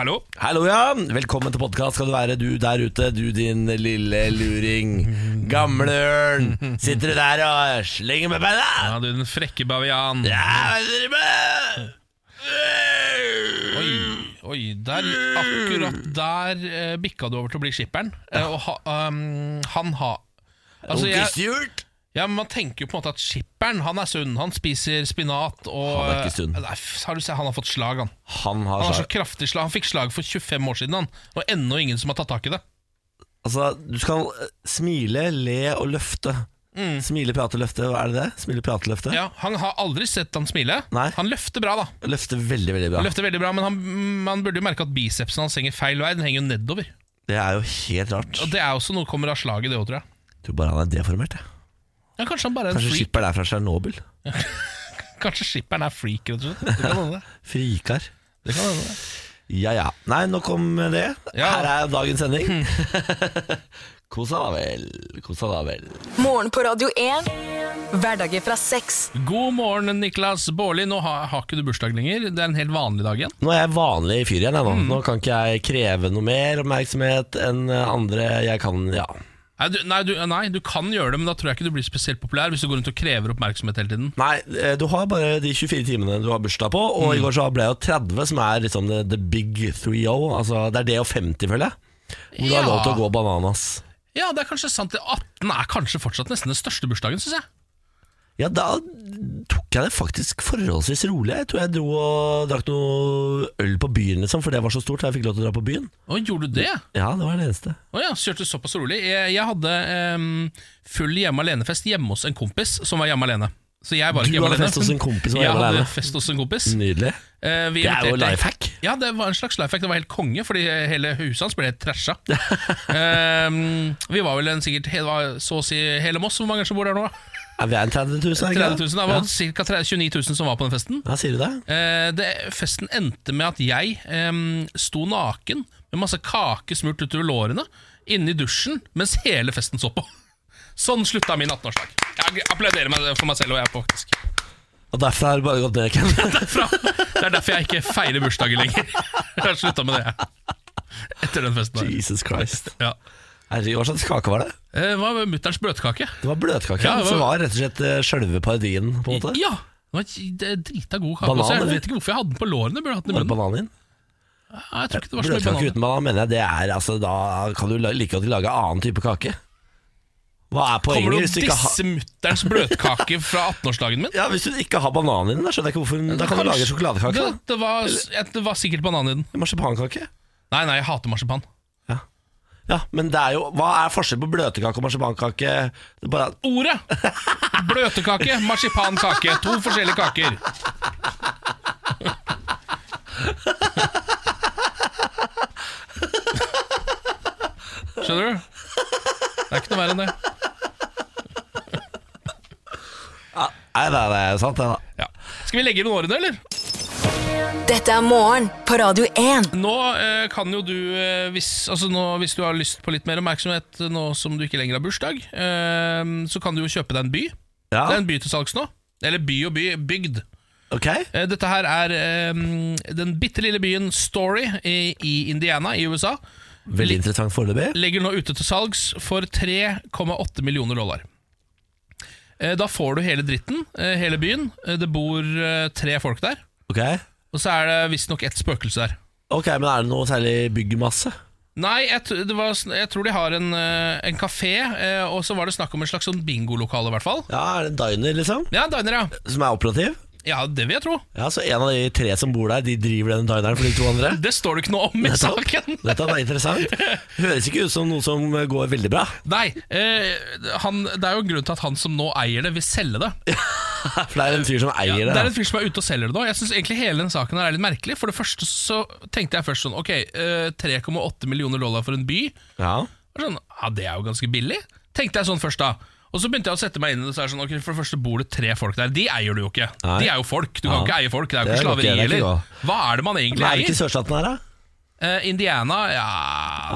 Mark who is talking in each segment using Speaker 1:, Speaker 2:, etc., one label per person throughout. Speaker 1: Hallo?
Speaker 2: Hallo, ja. Velkommen til podkast skal du være, du der ute. Du din lille luring. Gamle ørn. Sitter du der og slenger med beina?
Speaker 1: Ja, du den frekke bavian.
Speaker 2: Ja, hva driver du med?
Speaker 1: Oi, oi, der, akkurat der eh, bikka du over til å bli skipperen. Eh, og ha, um, han har altså,
Speaker 2: Onkel
Speaker 1: jeg,
Speaker 2: Stuart?
Speaker 1: ja, men Man tenker jo på en måte at skipperen han er sunn. Han spiser spinat og eh,
Speaker 2: Han er ikke sunn.
Speaker 1: Nei, f- har du sett, han har fått slag, han.
Speaker 2: Han har
Speaker 1: Han har så
Speaker 2: slag.
Speaker 1: kraftig slag Han fikk slag for 25 år siden, han og ennå ingen som har tatt tak i det.
Speaker 2: Altså, du skal eh, smile, le og løfte. Smile, prate, løfte. Hva er det det? Smile, prate, løfte?
Speaker 1: Mm. Ja, Han har aldri sett han smile.
Speaker 2: Nei.
Speaker 1: Han løfter bra, da.
Speaker 2: Løfte veldig, veldig
Speaker 1: Han
Speaker 2: bra.
Speaker 1: løfter veldig bra, Men han, man burde jo merke at bicepsen hans henger feil vei. Den henger jo nedover.
Speaker 2: Det er jo helt rart.
Speaker 1: Og Det er også noe som kommer av slaget, det òg, tror jeg.
Speaker 2: Tror bare han er deformert. Jeg.
Speaker 1: Ja, kanskje han bare er en
Speaker 2: Kanskje
Speaker 1: freak.
Speaker 2: skipper der fra Tsjernobyl.
Speaker 1: Kanskje skipperen er freak, rett og slett. Det kan hende. det.
Speaker 2: Frikar.
Speaker 1: Det kan hende. det.
Speaker 2: Ja ja. Nei, nok om det.
Speaker 1: Ja. Hmm.
Speaker 2: Her er dagens sending. Kosa da vel. Kosa da vel.
Speaker 3: Morgen på Radio 1. Hverdager fra seks.
Speaker 1: God morgen, Niklas Baarli. Nå har, har ikke du bursdag lenger. Det er en helt vanlig dag igjen.
Speaker 2: Nå er jeg vanlig fyr igjen. Jeg, nå.
Speaker 1: Hmm.
Speaker 2: nå kan ikke jeg kreve noe mer oppmerksomhet enn andre jeg kan. Ja.
Speaker 1: Nei du, nei, du, nei, du kan gjøre det, men da tror jeg ikke du blir spesielt populær hvis du går rundt og krever oppmerksomhet hele tiden.
Speaker 2: Nei, eh, du har bare de 24 timene du har bursdag på, og
Speaker 1: Hmm.
Speaker 2: i går så ble jeg jo 30, som er liksom the, the big 3-0. Altså, det er det og 50, føler jeg. Hvor du har
Speaker 1: Ja.
Speaker 2: lov til å gå bananas.
Speaker 1: Ja, det er kanskje sant. det. 18 er kanskje fortsatt nesten den største bursdagen, syns jeg.
Speaker 2: Ja, da tok jeg det faktisk forholdsvis rolig. Jeg tror jeg dro og drakk noe øl på byen, liksom, for det var så stort. Jeg fikk lov til å dra på byen.
Speaker 1: Å, gjorde du det?
Speaker 2: Ja, det var det eneste.
Speaker 1: Å ja, så kjørte du såpass rolig. Jeg, jeg hadde em, full hjemme alene-fest hjemme hos en kompis som var hjemme alene. Så jeg var
Speaker 2: Du
Speaker 1: ikke hjemme
Speaker 2: hadde
Speaker 1: alene.
Speaker 2: fest hos en kompis som var
Speaker 1: jeg
Speaker 2: hjemme alene.
Speaker 1: hadde fest hos en kompis.
Speaker 2: Nydelig.
Speaker 1: Eh, vi
Speaker 2: Det er jo
Speaker 1: inviterte-
Speaker 2: lifehack.
Speaker 1: Ja, det var en slags lifehack. Det var helt konge, fordi hele huset hans ble helt trasha. Ehm, vi var vel en, sikkert det var så å si hele Moss. Hvor mange som bor der nå?
Speaker 2: Er vi er en 30 000, er
Speaker 1: 30
Speaker 2: det
Speaker 1: 000.
Speaker 2: ikke
Speaker 1: Det var ca. 29 000 som var på den festen.
Speaker 2: Ja, sier du det?
Speaker 1: Eh, det, festen endte med at jeg ehm, sto naken med masse kake smurt utover lårene inne i dusjen mens hele festen så på. Sånn slutta min 18-årsdag. Jeg applauderer meg for meg selv og jeg, faktisk.
Speaker 2: Og derfor har du bare gått ned, Ken.
Speaker 1: derfra. Det er derfor jeg ikke feirer bursdager lenger. Jeg har slutta med det. Etter den festen. der.
Speaker 2: Jesus Christ.
Speaker 1: Ja.
Speaker 2: Herregud, hva slags kake var det?
Speaker 1: Eh, Hva var mutterns bløtkake?
Speaker 2: Det var bløtkake,
Speaker 1: Ja,
Speaker 2: ja,
Speaker 1: det var-
Speaker 2: som var rett og slett eh, sjølve parodien, på en måte.
Speaker 1: Ja! Det var en det er drita god kake.
Speaker 2: Banan,
Speaker 1: også. jeg
Speaker 2: eller?
Speaker 1: vet ikke hvorfor jeg hadde den på lårene. Burde hatt den i
Speaker 2: Var det
Speaker 1: munnen.
Speaker 2: banan i den?
Speaker 1: Nei, jeg tror ikke det var så mye
Speaker 2: Bløtkake
Speaker 1: banan.
Speaker 2: uten banan, mener jeg det er altså, Da kan du la- like godt lage annen type kake. Hva er
Speaker 1: Kommer
Speaker 2: poenget
Speaker 1: du
Speaker 2: hvis du
Speaker 1: og
Speaker 2: ikke har
Speaker 1: disser mutterns bløtkake fra 18-årsdagen min?
Speaker 2: Ja, Hvis du ikke har banan i den, da skjønner jeg ikke hvorfor Da kan du lage sjokoladekake.
Speaker 1: Det,
Speaker 2: da
Speaker 1: det, var, det var sikkert banan i den.
Speaker 2: Marsipankake.
Speaker 1: Nei, nei, jeg hater marsipan.
Speaker 2: Ja, men det er jo Hva er forskjellen på bløtkake og marsipankake? Det er bare
Speaker 1: Ordet! Bløtkake, marsipankake. To forskjellige kaker. Skjønner du? Det er ikke noe verre enn det.
Speaker 2: Nei, det er, det er sant, det, da.
Speaker 1: Ja. Skal vi legge inn årene, eller?
Speaker 3: Dette er morgen på Radio 1.
Speaker 1: Nå eh, kan jo du, eh, hvis, altså nå, hvis du har lyst på litt mer oppmerksomhet nå som du ikke lenger har bursdag, eh, så kan du jo kjøpe deg en by.
Speaker 2: Ja,
Speaker 1: Det er en by til salgs nå. Eller by og by, bygd.
Speaker 2: ok
Speaker 1: Eh, Dette her er eh, den bitte lille byen Story i, i Indiana i USA.
Speaker 2: Veldig interessant foreløpig.
Speaker 1: Legger nå ute til salgs for 3,8 millioner dollar. Eh, Da får du hele dritten, eh, hele byen. Eh, Det bor eh, tre folk der.
Speaker 2: Ok
Speaker 1: Og så er det visstnok ett spøkelse der.
Speaker 2: Ok, Men er det noe særlig byggmasse?
Speaker 1: Nei, jeg, tr- det var, sn- jeg tror de har en, eh, en kafé, eh, og så var det snakk om en slags sånn bingolokale, i hvert fall.
Speaker 2: Ja, Er det en diner, liksom?
Speaker 1: Ja, diner, ja.
Speaker 2: Som er operativ?
Speaker 1: Ja, det vil jeg tro.
Speaker 2: Ja, Så en av de tre som bor der, de driver den dineren for de to andre?
Speaker 1: Det står det ikke noe om i saken.
Speaker 2: Dette er interessant. Høres ikke ut som noe som går veldig bra.
Speaker 1: Nei, eh, han, det er jo en grunn til at han som nå eier det, vil selge det.
Speaker 2: For det er en fyr som
Speaker 1: Ja,
Speaker 2: eier
Speaker 1: det er
Speaker 2: det.
Speaker 1: en fyr som er ute og selger det nå. Jeg synes egentlig hele den saken her er litt merkelig. For det første så tenkte jeg først sånn Ok, eh, 3,8 millioner dollar for en by.
Speaker 2: Ja.
Speaker 1: Og sånn, ja, det er jo ganske billig, tenkte jeg sånn først da. Og så begynte jeg å sette meg inn i det, så er det sånn, ok, for det første bor det tre folk der. De eier du jo ikke.
Speaker 2: Nei.
Speaker 1: De er jo folk, du
Speaker 2: Ja.
Speaker 1: kan ikke eie folk, det er jo
Speaker 2: Det
Speaker 1: ikke
Speaker 2: er jo ikke- det
Speaker 1: slaveri
Speaker 2: er ikke
Speaker 1: heller.
Speaker 2: lov.
Speaker 1: Hva er det man egentlig
Speaker 2: Er det ikke
Speaker 1: eier?
Speaker 2: sørstaten her, da?
Speaker 1: Eh, Indiana, ja,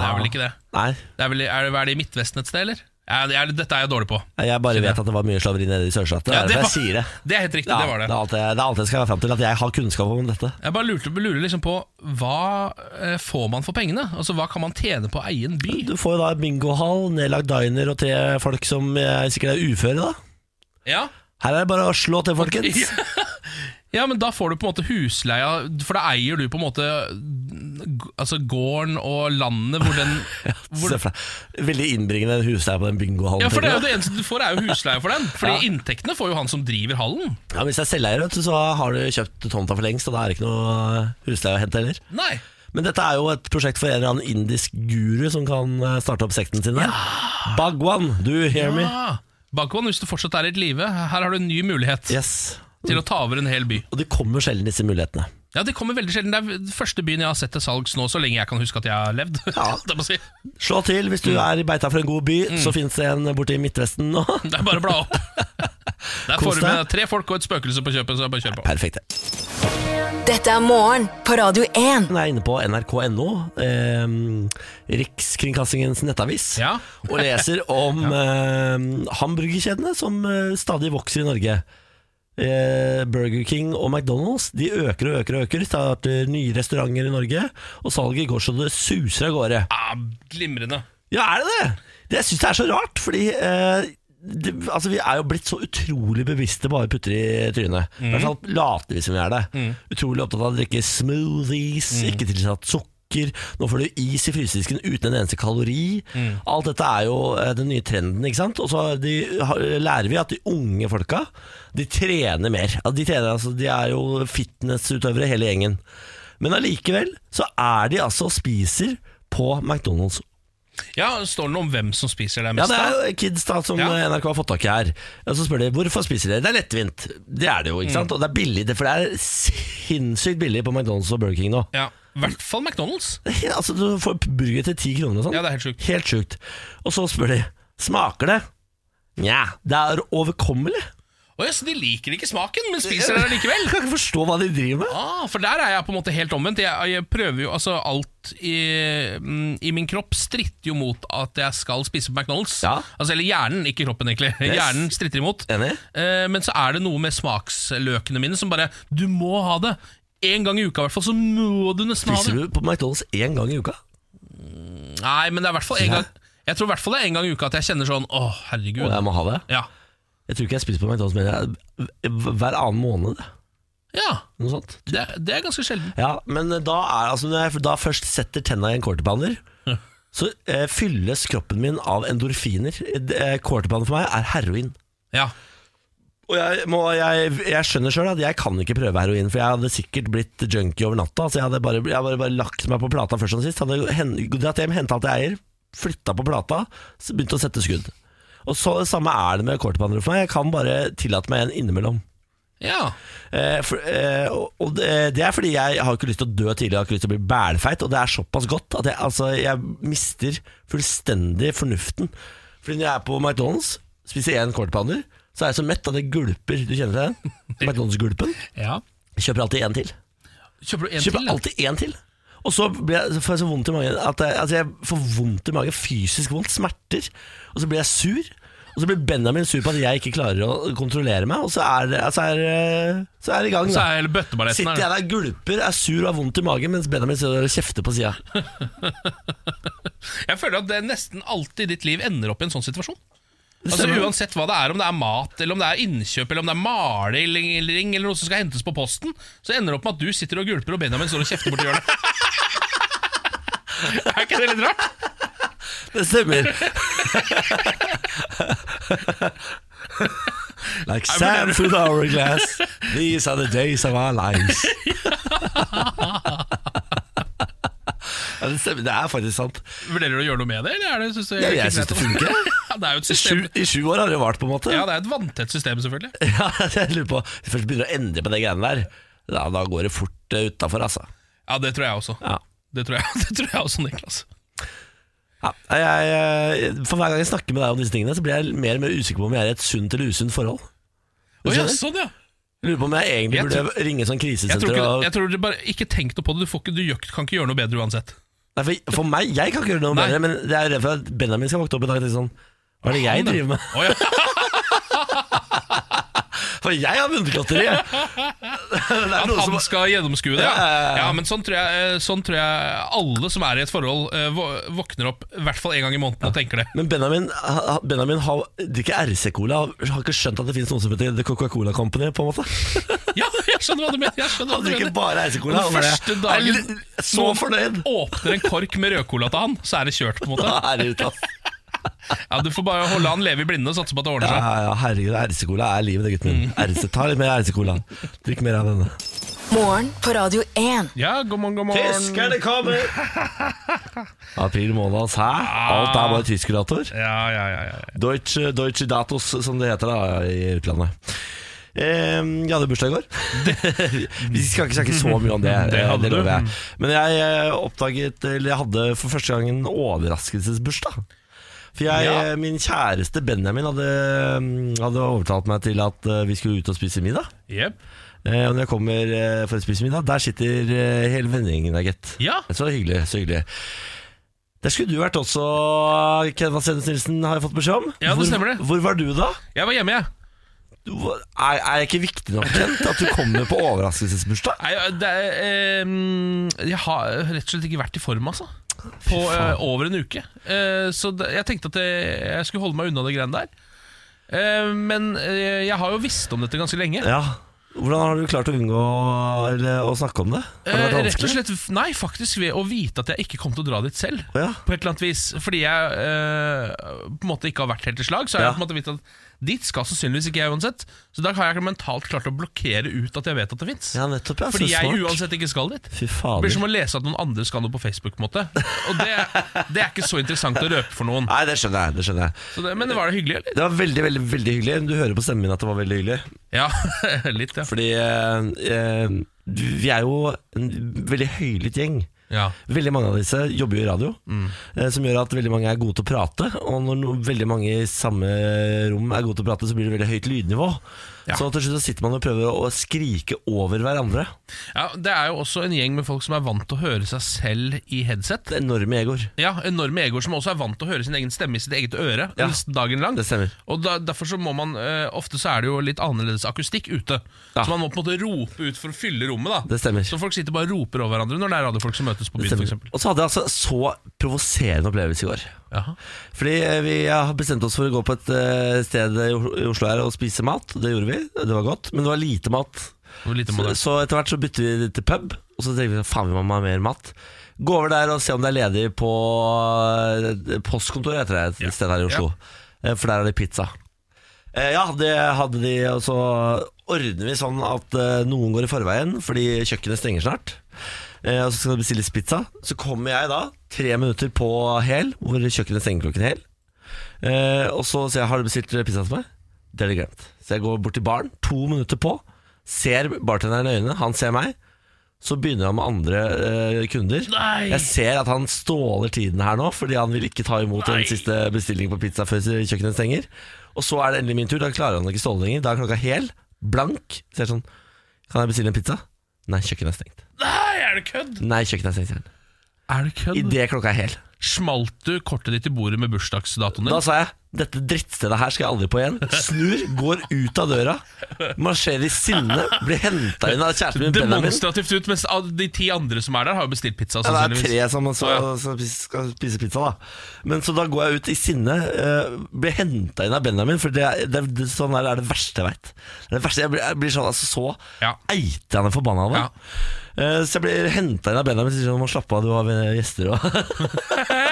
Speaker 1: det er vel ikke det.
Speaker 2: Nei.
Speaker 1: Det er vel, er det, er det i Midtvesten et sted, eller? Ja, det er, dette er jeg dårlig på.
Speaker 2: Jeg bare vet at det var mye slaveri nede i sørstaten.
Speaker 1: Ja,
Speaker 2: det er derfor
Speaker 1: var-
Speaker 2: jeg sier det.
Speaker 1: Det er helt riktig,
Speaker 2: Ja,
Speaker 1: det var det.
Speaker 2: er alt jeg, det er alt jeg skal være frem til, at jeg har kunnskap om dette.
Speaker 1: Jeg bare lurte, lurer liksom på hva eh, får man for pengene? Altså Hva kan man tjene på å eie en by?
Speaker 2: Du får jo da bingohall, nedlagt diner og tre folk som eh, sikkert er uføre, da.
Speaker 1: Ja,
Speaker 2: Her er det bare å slå til, folkens.
Speaker 1: ja men da får du på en måte husleia, for da eier du på en måte g- Altså gården og landet hvor den hvor,
Speaker 2: Se for deg. Veldig innbringende husleie på den bingohallen.
Speaker 1: Ja, for det er jo
Speaker 2: tenker jeg.
Speaker 1: det eneste du får, er jo husleia for den. Fordi inntektene får jo han som driver hallen.
Speaker 2: Ja, men hvis jeg er selveier, vet du, så har du kjøpt tomta for lengst, og da er det ikke noe eh, husleie å hente heller.
Speaker 1: Nei
Speaker 2: Men dette er jo et prosjekt for en eller annen indisk guru som kan eh, starte opp sekten sin der. Bhagwan, do you hear me?
Speaker 1: ah, Bakwan, hvis du fortsatt er i et live, her har du en ny mulighet
Speaker 2: Yes.
Speaker 1: til å ta over en hel by.
Speaker 2: Og det kommer sjelden disse mulighetene.
Speaker 1: Ja, Det kommer veldig sjelden. Det er den første byen jeg har sett til salgs nå, så lenge jeg kan huske at jeg har levd.
Speaker 2: Ja.
Speaker 1: Det, må jeg si.
Speaker 2: Slå til hvis du
Speaker 1: Mm.
Speaker 2: er i beita for en god by, så finnes det en borte i Midtvesten nå.
Speaker 1: Det er bare å bla opp.
Speaker 2: Kos
Speaker 1: Der får du med
Speaker 2: deg.
Speaker 1: tre folk og et spøkelse på kjøpet, så det er bare kjør på.
Speaker 2: Perfekt. det.
Speaker 3: Dette er morgen på Radio 1.
Speaker 2: Jeg er inne på nrk.no, eh, Rikskringkastingens nettavis,
Speaker 1: Ja.
Speaker 2: og leser om eh, hamburgerkjedene som eh, stadig vokser i Norge. Eh, Burger King og McDonald's De øker og øker og øker. Starter nye restauranter i Norge, og salget går så det suser av gårde.
Speaker 1: Ah, glimrende.
Speaker 2: Ja, er det det? det jeg syns det er så rart, fordi eh, det, altså, vi er jo blitt så utrolig bevisste bare putter i trynet. I hvert fall later vi som vi er det. Utrolig opptatt av å drikke smoothies, ikke tilsatt sukker. Nå får du is i frysedisken uten en eneste kalori. Alt dette er jo eh, den nye trenden. ikke sant? Og så har de, har, lærer vi at de unge folka de trener mer. Altså, de, trener, altså, de er jo fitnessutøvere, hele gjengen. Men allikevel så er de altså og spiser på McDonald's
Speaker 1: Ja, Står det noe om hvem som spiser det
Speaker 2: ja,
Speaker 1: mest?
Speaker 2: det
Speaker 1: da?
Speaker 2: er jo kids da som
Speaker 1: Ja.
Speaker 2: eh, NRK har fått tak i her. Og så spør de hvorfor spiser dere. Det er lettvint. Det er det jo, ikke sant?
Speaker 1: Mm.
Speaker 2: Og det er billig, det- for det er sinnssykt billig på McDonald's og Burger King nå.
Speaker 1: ja, I hvert fall McDonald's.
Speaker 2: Det er helt- Altså, Du får burger til ti kroner og sånn.
Speaker 1: Ja, det er helt sjukt.
Speaker 2: Helt sjukt. Og så spør de smaker det. Nja, det er overkommelig.
Speaker 1: Å ja, så de liker ikke smaken, men spiser det likevel?
Speaker 2: Jeg kan ikke forstå hva de driver med.
Speaker 1: Ah, for der er jeg på en måte helt omvendt. Jeg, jeg prøver jo altså Alt i, mm, i min kropp stritter jo mot at jeg skal spise på McDonald's.
Speaker 2: Ja.
Speaker 1: Altså, eller hjernen, ikke kroppen, egentlig.
Speaker 2: Yes.
Speaker 1: Hjernen stritter imot.
Speaker 2: Enig.
Speaker 1: Eh, men så er det noe med smaksløkene mine som bare Du må ha det! En gang i uka i hvert fall, så må du nesten ha det.
Speaker 2: Spiser du på McDonald's én gang i uka?
Speaker 1: Nei, men det er i hvert fall en gang Jeg tror i hvert fall det er en gang i uka at jeg kjenner sånn Åh, herregud
Speaker 2: Og jeg må ha det.
Speaker 1: Ja,
Speaker 2: Jeg tror ikke jeg spiser på McDonald's mer enn hver annen måned.
Speaker 1: ja
Speaker 2: Noe sånt.
Speaker 1: det, det er ganske sjelden
Speaker 2: Ja, men da er altså Når jeg da først setter tenna i en quarterbander Så eh, fylles kroppen min av endorfiner eh, Quarterbander for meg er heroin
Speaker 1: Ja,
Speaker 2: Og jeg, må, jeg, jeg skjønner selv at jeg kan ikke prøve heroin For jeg hadde sikkert blitt junkie over natta Altså jeg hadde bare, jeg hadde bare, bare lagt meg på plata først og sist Hadde hen- dratt hjem, hentet alt jeg eier Flyttet på plata så Begynte å sette skudd Og så det samme er det med quarterbander for meg Jeg kan bare tillate meg en innimellom
Speaker 1: ja
Speaker 2: Eh, for, eh, og- og det det er fordi jeg har ikke lyst til å dø tidlig, jeg har ikke lyst til å bli bælfeit, og det er såpass godt at jeg, altså, jeg mister fullstendig fornuften. Fordi når jeg er på McDonald's, spiser én quarterpounder, så er jeg så mett at jeg gulper. Du kjenner til den? McDonald's-gulpen.
Speaker 1: Ja
Speaker 2: Jeg Kjøper alltid én til.
Speaker 1: Kjøper du en
Speaker 2: Kjøper
Speaker 1: til? da?
Speaker 2: alltid én til. Og så blir jeg, så får jeg så vondt i magen at jeg, altså jeg får vondt i magen, fysisk vondt, smerter. Og så blir jeg sur. Og så blir Benjamin sur på at jeg ikke klarer å kontrollere meg, og så er det altså er, det- så er det i gang.
Speaker 1: Så
Speaker 2: Da.
Speaker 1: er hele bøtteballetten
Speaker 2: Sitter jeg
Speaker 1: her
Speaker 2: der, gulper, er sur og har vondt i magen, mens Benjamin sitter og kjefter på sida.
Speaker 1: Jeg føler at det nesten alltid ditt liv ender opp i en sånn situasjon Altså
Speaker 2: stemmer.
Speaker 1: uansett hva det er, om det er mat, eller om det er innkjøp, eller om det er maling, eller noe som skal hentes på posten Så ender det opp med at du sitter og gulper, og Benjamin står og kjefter borti hjørnet Er ikke det litt rart?
Speaker 2: Det stemmer. like sand through the hourglass, these are the days of our lives. ja, det stemmer, det er faktisk sant.
Speaker 1: Vurderer du å gjøre noe med det, eller er det, synes du,
Speaker 2: Ja, jeg syns det funker. jeg.
Speaker 1: Ja, det er jo
Speaker 2: I
Speaker 1: et system
Speaker 2: sju- I sju år har det vart, på en måte.
Speaker 1: Ja, det er et vanntett system, selvfølgelig.
Speaker 2: Ja, jeg lurer på Hvis jeg først begynner å endre på de greiene der, da, da går det fort utafor, altså.
Speaker 1: Ja, det tror jeg også.
Speaker 2: Ja.
Speaker 1: Det tror jeg, det tror jeg også, Niklas.
Speaker 2: Ja, jeg, eh, for hver gang jeg snakker med deg om disse tingene, så blir jeg mer og mer usikker på om jeg er i et sunt eller usunt forhold.
Speaker 1: Å ja,
Speaker 2: skjønner?
Speaker 1: sånn, ja.
Speaker 2: Jeg lurer på om jeg egentlig
Speaker 1: Jeg
Speaker 2: burde ringe sånn
Speaker 1: Jeg tror
Speaker 2: krisesenter.
Speaker 1: ikke,
Speaker 2: og-
Speaker 1: jeg tror du bare, ikke tenk noe på det. Du, får ikke, du gjør- kan ikke gjøre noe bedre uansett.
Speaker 2: Nei, for, for meg, jeg kan ikke gjøre noe
Speaker 1: Nei.
Speaker 2: bedre, men jeg er redd for at Benjamin skal våkne opp i dag og tenke sånn Hva er det jeg
Speaker 1: Han, ja.
Speaker 2: driver med?
Speaker 1: Å ja.
Speaker 2: For jeg har vunnet lotteriet! Det er
Speaker 1: At
Speaker 2: noe som-
Speaker 1: han skal gjennomskue det?
Speaker 2: Ja, ja, ja,
Speaker 1: Ja,
Speaker 2: ja.
Speaker 1: ja men sånn tror, jeg, sånn tror jeg alle som er i et forhold, eh, vå- våkner opp i hvert fall én gang i måneden og tenker det.
Speaker 2: Men Benjamin, ha- Benjamin har, drikker RC-cola og har ikke skjønt at det finnes noe som heter The Coca-Cola Company. på en måte
Speaker 1: Ja, jeg skjønner hva du mener! Jeg skjønner hva
Speaker 2: Han
Speaker 1: du
Speaker 2: drikker
Speaker 1: mener.
Speaker 2: bare
Speaker 1: Den
Speaker 2: RC-cola. og bare-
Speaker 1: første
Speaker 2: Jeg
Speaker 1: dagen
Speaker 2: er litt- Så
Speaker 1: noen
Speaker 2: fornøyd!
Speaker 1: Åpner en kork med rødcola til han, så er det kjørt. på en måte
Speaker 2: Da er det ute, ass.
Speaker 1: Ja, Du får bare holde han leve i blinde og satse på at det ordner
Speaker 2: Ja,
Speaker 1: seg.
Speaker 2: ja, ja, herregud, RC-cola er livet, det, gutten min.
Speaker 1: Mm.
Speaker 2: RC, ta litt mer RC-cola. Drikk mer av denne.
Speaker 3: Morgen på Radio 1.
Speaker 1: Ja, god morgen, god morgen.
Speaker 2: Tyskerne kommer! April måned, ass. Hæ?
Speaker 1: Ah.
Speaker 2: Alt er bare tyskerdator.
Speaker 1: Ja, ja, ja, ja.
Speaker 2: Deutsche, Deutsche Datos, som det heter da i utlandet. Eh, Jeg hadde bursdag i går. Vi skal ikke snakke så mye om det.
Speaker 1: Det hadde
Speaker 2: eh,
Speaker 1: du.
Speaker 2: lover jeg. Men jeg eh, oppdaget Eller jeg hadde for første gang en overraskelsesbursdag. For jeg,
Speaker 1: Ja.
Speaker 2: eh, Min kjæreste Benjamin hadde, mm, hadde overtalt meg til at eh, vi skulle ut og spise middag.
Speaker 1: Jep.
Speaker 2: Eh, Og når jeg kommer eh, for å spise middag, der sitter eh, hele vennegjengen der, gitt.
Speaker 1: Ja.
Speaker 2: Så hyggelig. så hyggelig Der skulle du vært også, Kenvas Sennes Nilsen, har jeg fått beskjed om.
Speaker 1: Ja, det
Speaker 2: hvor,
Speaker 1: stemmer det.
Speaker 2: Hvor var du da?
Speaker 1: Jeg var hjemme, jeg.
Speaker 2: Du, var- er, er det ikke viktig nok, Kent, at du kommer på overraskelsesbursdag?
Speaker 1: Nei, det er, eh, jeg har rett og slett ikke vært i form, altså. På eh, over en uke. Eh, så det, jeg tenkte at jeg, jeg skulle holde meg unna det greiene der. Eh, men eh, jeg har jo visst om dette ganske lenge.
Speaker 2: Ja. Hvordan har du klart å unngå eller, å snakke om det? Har det
Speaker 1: Eh,
Speaker 2: vært
Speaker 1: rett og
Speaker 2: vanskelig?
Speaker 1: slett, Nei, faktisk ved å vite at jeg ikke kom til å dra dit selv.
Speaker 2: Å, ja.
Speaker 1: På et eller annet vis Fordi jeg eh, på en måte ikke har vært helt i slag. Så har
Speaker 2: Ja.
Speaker 1: jeg på en måte vite at dit skal sannsynligvis ikke jeg uansett. Så da har jeg mentalt klart å blokkere ut at jeg vet at det fins.
Speaker 2: Ja, nettopp, ja.
Speaker 1: fordi
Speaker 2: så
Speaker 1: jeg
Speaker 2: smart.
Speaker 1: uansett ikke skal dit.
Speaker 2: Fy
Speaker 1: Det blir
Speaker 2: fader.
Speaker 1: som å lese at noen andre skal noe på Facebook. på en måte Og det, det er ikke så interessant å røpe for noen.
Speaker 2: Nei, det skjønner jeg. det skjønner jeg
Speaker 1: Så det, men det var det hyggelig, eller?
Speaker 2: Det var veldig veldig, veldig hyggelig. Du hører på stemmen min at det var veldig hyggelig.
Speaker 1: Ja, litt, ja.
Speaker 2: Fordi eh, eh, vi er jo en veldig høylytt gjeng.
Speaker 1: ja.
Speaker 2: Veldig mange av disse jobber jo i radio,
Speaker 1: Mm.
Speaker 2: eh, som gjør at veldig mange er gode til å prate. Og når no, veldig mange i samme rom er gode til å prate, så blir det veldig høyt lydnivå.
Speaker 1: Ja.
Speaker 2: Så til slutt så sitter man og prøver å skrike over hverandre.
Speaker 1: ja Det er jo også en gjeng med folk som er vant til å høre seg selv i headset.
Speaker 2: Det er enorme egoer.
Speaker 1: Ja, Enorme egoer som også er vant til å høre sin egen stemme i sitt eget øre.
Speaker 2: Ja,
Speaker 1: nesten dagen lang
Speaker 2: det stemmer.
Speaker 1: Og da, Derfor så må man eh, Ofte så er det jo litt annerledes akustikk ute.
Speaker 2: Ja.
Speaker 1: Så man må på en måte rope ut for å fylle rommet. da
Speaker 2: Det stemmer.
Speaker 1: Så folk sitter bare og roper over hverandre når det er radiofolk som møtes på
Speaker 2: Det
Speaker 1: byen. For
Speaker 2: stemmer.
Speaker 1: eksempel.
Speaker 2: Og så hadde jeg altså så provoserende opplevelse i går.
Speaker 1: Jaha.
Speaker 2: Fordi eh, vi har bestemt oss for å gå på et eh, sted i O- i Oslo her og spise mat. Det gjorde vi, det var godt. Men det var lite mat.
Speaker 1: Det var lite
Speaker 2: Så,
Speaker 1: moderne.
Speaker 2: så etter hvert så bytter vi det til pub, og så tenker vi faen, vi må ha mer mat. Gå over der og se om det er ledig på eh, postkontoret heter det, et
Speaker 1: Ja.
Speaker 2: sted her i Oslo. Eh, For der er det pizza. Eh, Ja, det hadde de, og så ordner vi sånn at eh, noen går i forveien fordi kjøkkenet stenger snart. Eh, Og så skal det bestilles pizza. Så kommer jeg da, tre minutter på hel, hvor kjøkkenet stenger klokken hel. Eh, og så sier jeg, har du bestilt pizza til meg? Det har de glemt. Så jeg går bort til baren, to minutter på, ser bartenderen i øynene, han ser meg. Så begynner han med andre eh, kunder.
Speaker 1: Nei.
Speaker 2: Jeg ser at han ståler tiden her nå, fordi han vil ikke ta imot
Speaker 1: Nei.
Speaker 2: den siste bestillingen på pizza før kjøkkenet stenger. Og så er det endelig min tur, da klarer han ikke ståle lenger. Da er klokka hel, blank. Så jeg er sånn, kan jeg bestille en pizza? Nei, kjøkkenet er stengt.
Speaker 1: Nei, er det kødd?!
Speaker 2: Nei, kjøkkenet er stengt. sier han.
Speaker 1: Er det kødd?
Speaker 2: I det klokka er hel.
Speaker 1: Smalt du kortet ditt i bordet med bursdagsdatoen din?
Speaker 2: Da sa jeg dette drittstedet her skal jeg aldri på igjen. Snur, går ut av døra, marsjerer i sinne, blir henta inn av kjæresten min Benjamin.
Speaker 1: Demonstrativt ut, mens av de ti andre som er der, har jo bestilt
Speaker 2: Ja,
Speaker 1: pizza.
Speaker 2: det er
Speaker 1: sannsynligvis.
Speaker 2: tre som så,
Speaker 1: Å, ja.
Speaker 2: som skal spise pizza, da. Men så da går jeg ut i sinne, eh, blir henta inn av Benjamin, for det, er- det, er- det, sånn her er det verste jeg veit. Det er det verste, jeg blir, jeg blir sånn altså, så
Speaker 1: Ja.
Speaker 2: eitende forbanna av det. Eh, Så jeg blir henta inn av Benjamin og sier sånn, må slappe av, du har eh, gjester og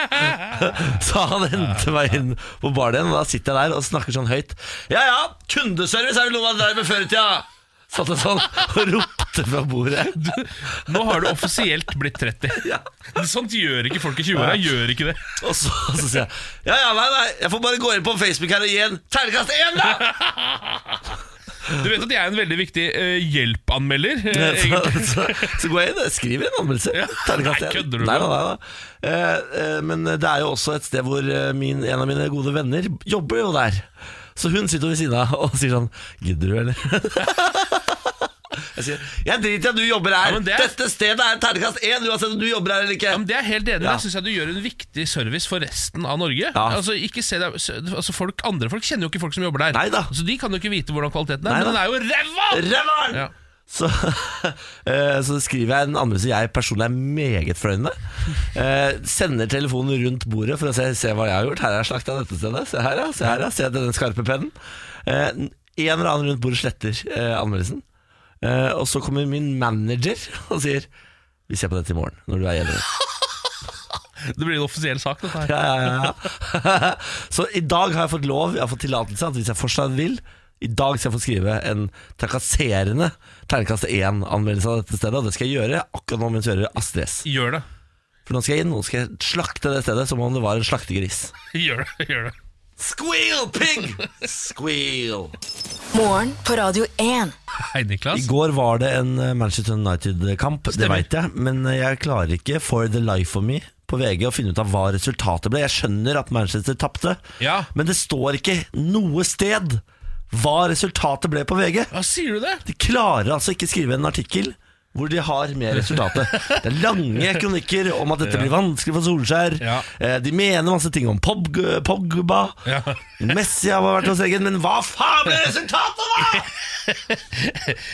Speaker 2: Så han henter meg inn på baren igjen, og da sitter jeg der og snakker sånn høyt. Ja ja, kundeservice er vel noe man drev med før i tida! Satt jeg sånn og ropte fra bordet.
Speaker 1: Nå har du offisielt blitt 30. Sånt gjør ikke folk i 20-åra. Gjør ikke det.
Speaker 2: Og så, så sier jeg Ja, ja, nei, nei, jeg får bare gå inn på Facebook her og gi en terningkast én, da!
Speaker 1: Du vet at jeg er en veldig viktig eh, hjelpanmelder. eh,
Speaker 2: Så,
Speaker 1: egentlig.
Speaker 2: så, så går jeg inn og skriver en anmeldelse.
Speaker 1: Ja.
Speaker 2: Terningkast
Speaker 1: Nei,
Speaker 2: én.
Speaker 1: kødder du
Speaker 2: Nei,
Speaker 1: med?
Speaker 2: nei, nei, nei. Eh, eh, men det er jo også et sted hvor eh, min, en av mine gode venner jobber jo der. Så hun sitter ved siden av og sier sånn Gidder du, eller? Jeg sier Jeg driter i at du jobber her.
Speaker 1: Ja, men det-
Speaker 2: Dette stedet er terningkast én, uansett om du jobber her eller ikke.
Speaker 1: Ja, men det er jeg helt enig. i.
Speaker 2: Ja.
Speaker 1: Der synes jeg du gjør en viktig service for resten av Norge.
Speaker 2: Ja.
Speaker 1: Altså, ikke se deg, se- altså folk, Andre folk kjenner jo ikke folk som jobber der,
Speaker 2: Neida.
Speaker 1: så de kan jo ikke vite hvordan kvaliteten er.
Speaker 2: Neida.
Speaker 1: Men den er jo ræva!
Speaker 2: Rævaren!
Speaker 1: Ja.
Speaker 2: Så, eh, så skriver jeg en anmeldelse jeg personlig er meget fornøyd med. Eh, sender telefonen rundt bordet for å se, se hva jeg har gjort. Her har jeg slakta dette stedet. Se her, ja. Se, her, ja. se denne skarpe pennen. Eh, en eller annen rundt bordet sletter eh, anmeldelsen. Eh, og så kommer min manager og sier Vi ser på dette i morgen, når du er hjemme.
Speaker 1: Det blir en offisiell sak, dette her.
Speaker 2: Ja, ja, ja. så i dag har jeg fått lov, jeg har fått tillatelse at hvis jeg fortsatt vil i dag skal jeg få skrive en trakasserende terningkast 1-anmeldelse av dette stedet. Og det skal jeg gjøre akkurat nå mens jeg hører Astrid S.
Speaker 1: Gjør det.
Speaker 2: For nå skal jeg inn og nå skal jeg slakte det stedet som om det var en slaktegris.
Speaker 1: Gjør det. Gjør det.
Speaker 2: Squeal, pig! Squeal.
Speaker 3: Morgen på Radio 1.
Speaker 1: Hei, Niklas.
Speaker 2: I går var det en eh, Manchester United-kamp, det
Speaker 1: Altså- Stemmer.
Speaker 2: veit jeg. Men eh, jeg klarer ikke for the life of me på VG å finne ut av hva resultatet ble. Jeg skjønner at Manchester tapte,
Speaker 1: Ja.
Speaker 2: men det står ikke noe sted hva resultatet ble på VG.
Speaker 1: Hva sier du det?
Speaker 2: De klarer altså ikke skrive en artikkel hvor de har med resultatet. Det er lange kronikker om at dette blir vanskelig for Solskjær.
Speaker 1: Ja.
Speaker 2: Eh, De mener masse ting om Pog Pogba.
Speaker 1: Ja.
Speaker 2: Messi har vært hos egen, men hva faen ble resultatet, da?!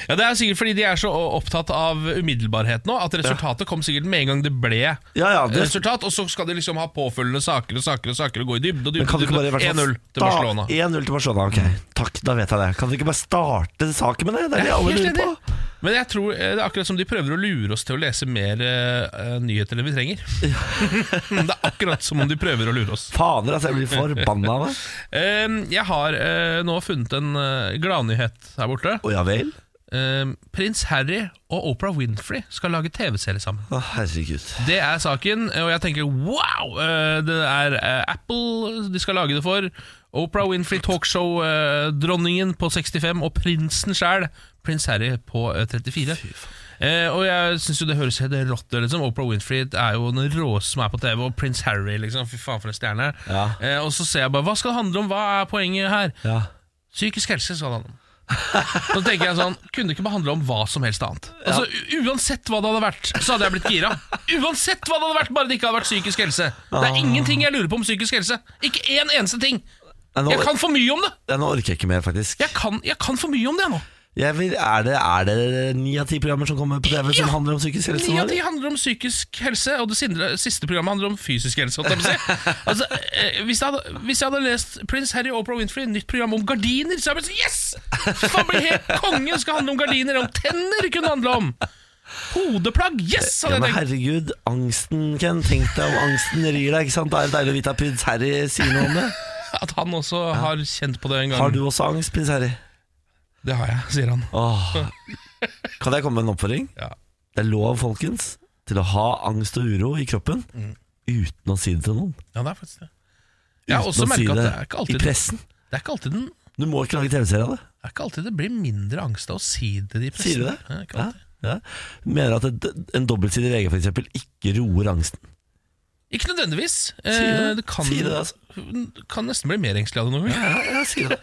Speaker 1: Ja, Det er sikkert fordi de er så opptatt av umiddelbarhet nå, at resultatet kom sikkert med en gang det ble
Speaker 2: Ja, ja, det-
Speaker 1: resultat. Og så skal de liksom ha påfølgende saker og saker og saker og gå i dybde og
Speaker 2: Men
Speaker 1: dybde.
Speaker 2: kan du ikke bare i hvert
Speaker 1: dybde.
Speaker 2: fall
Speaker 1: 1-0 til
Speaker 2: sta-
Speaker 1: Barcelona.
Speaker 2: 1-0 til Barcelona, ok. Takk, da vet jeg det. Kan du ikke bare starte saken med det? Det er det alle
Speaker 1: Helt
Speaker 2: lurer på.
Speaker 1: enig. Men jeg tror eh, det er akkurat som de prøver å lure oss til å lese mer eh, eh, nyheter enn vi trenger. det er akkurat som om de prøver å lure oss.
Speaker 2: Fader, altså, jeg blir forbanna av det.
Speaker 1: Eh, jeg har eh, nå funnet en eh, gladnyhet her borte.
Speaker 2: Å ja vel?
Speaker 1: Eh, Prins Harry og Oprah Winfrey skal lage TV-serie sammen.
Speaker 2: Å, herregud.
Speaker 1: Det er saken, og jeg tenker wow! eh, Det er eh, Apple de skal lage det for. Oprah Winfrey talkshow, eh, dronningen på 65 og prinsen sjæl, prins Harry på eh, 34. Eh, og jeg syns jo det høres helt rått ut. Liksom. Oprah Winfrey er jo den råeste som er på TV, og prins Harry, liksom. Fy faen, for en stjerne.
Speaker 2: Ja.
Speaker 1: Eh, og så ser jeg bare Hva skal det handle om? Hva er poenget her?
Speaker 2: Ja.
Speaker 1: Psykisk helse skal det handle om. Nå tenker jeg sånn, Kunne det ikke bare handle om hva som helst annet? Altså, u- Uansett hva det hadde vært, så hadde jeg blitt gira. Uansett hva det hadde vært, bare det ikke hadde vært psykisk helse. Det er ingenting jeg lurer på om psykisk helse. Ikke én eneste ting.
Speaker 2: Nei, nå,
Speaker 1: Jeg kan for mye om det!
Speaker 2: ja, nå orker jeg ikke mer, faktisk.
Speaker 1: Jeg kan, jeg kan for mye om det nå.
Speaker 2: Jeg vil, er, det, er det ni av ti programmer som kommer på TV som
Speaker 1: Ja.
Speaker 2: handler om psykisk helse?
Speaker 1: Ni
Speaker 2: nå,
Speaker 1: av ti
Speaker 2: eller?
Speaker 1: handler om psykisk helse, og det sindre- siste programmet handler om fysisk helse. holdt jeg på å si. Altså, eh, hvis, jeg hadde, hvis jeg hadde lest Prince Harry og Oprah Winfrey, nytt program om gardiner, så hadde jeg blitt sånn, yes! Faen, blir helt kongen skal handle om gardiner, om tenner kunne handle om! Hodeplagg, yes!
Speaker 2: Ja, men
Speaker 1: hadde jeg tenkt.
Speaker 2: herregud, angsten, Ken. Tenk deg om angsten rir deg. ikke sant? Da er det deilig å vite at prins Harry sier noe om det.
Speaker 1: At han også har kjent på det en gang.
Speaker 2: Har du også angst, prins Harry?
Speaker 1: Det har jeg, sier han.
Speaker 2: Åh. Kan jeg komme med en oppfordring?
Speaker 1: Ja.
Speaker 2: Det er lov, folkens, til å ha angst og uro i kroppen
Speaker 1: Mm.
Speaker 2: uten å si det til noen.
Speaker 1: Ja, det er faktisk det. Jeg har
Speaker 2: Uten
Speaker 1: også
Speaker 2: å si
Speaker 1: merket at det
Speaker 2: det
Speaker 1: er ikke
Speaker 2: I
Speaker 1: alltid
Speaker 2: pressen.
Speaker 1: det, er ikke alltid den, det
Speaker 2: Du må ikke lage TV-serie av det.
Speaker 1: er ikke alltid det blir mindre angst av å si det i pressen.
Speaker 2: Sier du det?
Speaker 1: Ja, ikke
Speaker 2: Ja.
Speaker 1: alltid.
Speaker 2: Ja. Mener at et, en dobbeltsidig VG for eksempel ikke roer angsten.
Speaker 1: Ikke nødvendigvis.
Speaker 2: Sier du
Speaker 1: Eh,
Speaker 2: det?
Speaker 1: det kan,
Speaker 2: Sier du det, altså?
Speaker 1: Hun kan nesten bli mer engstelig av det noen gang.
Speaker 2: Ja, ja, sier det.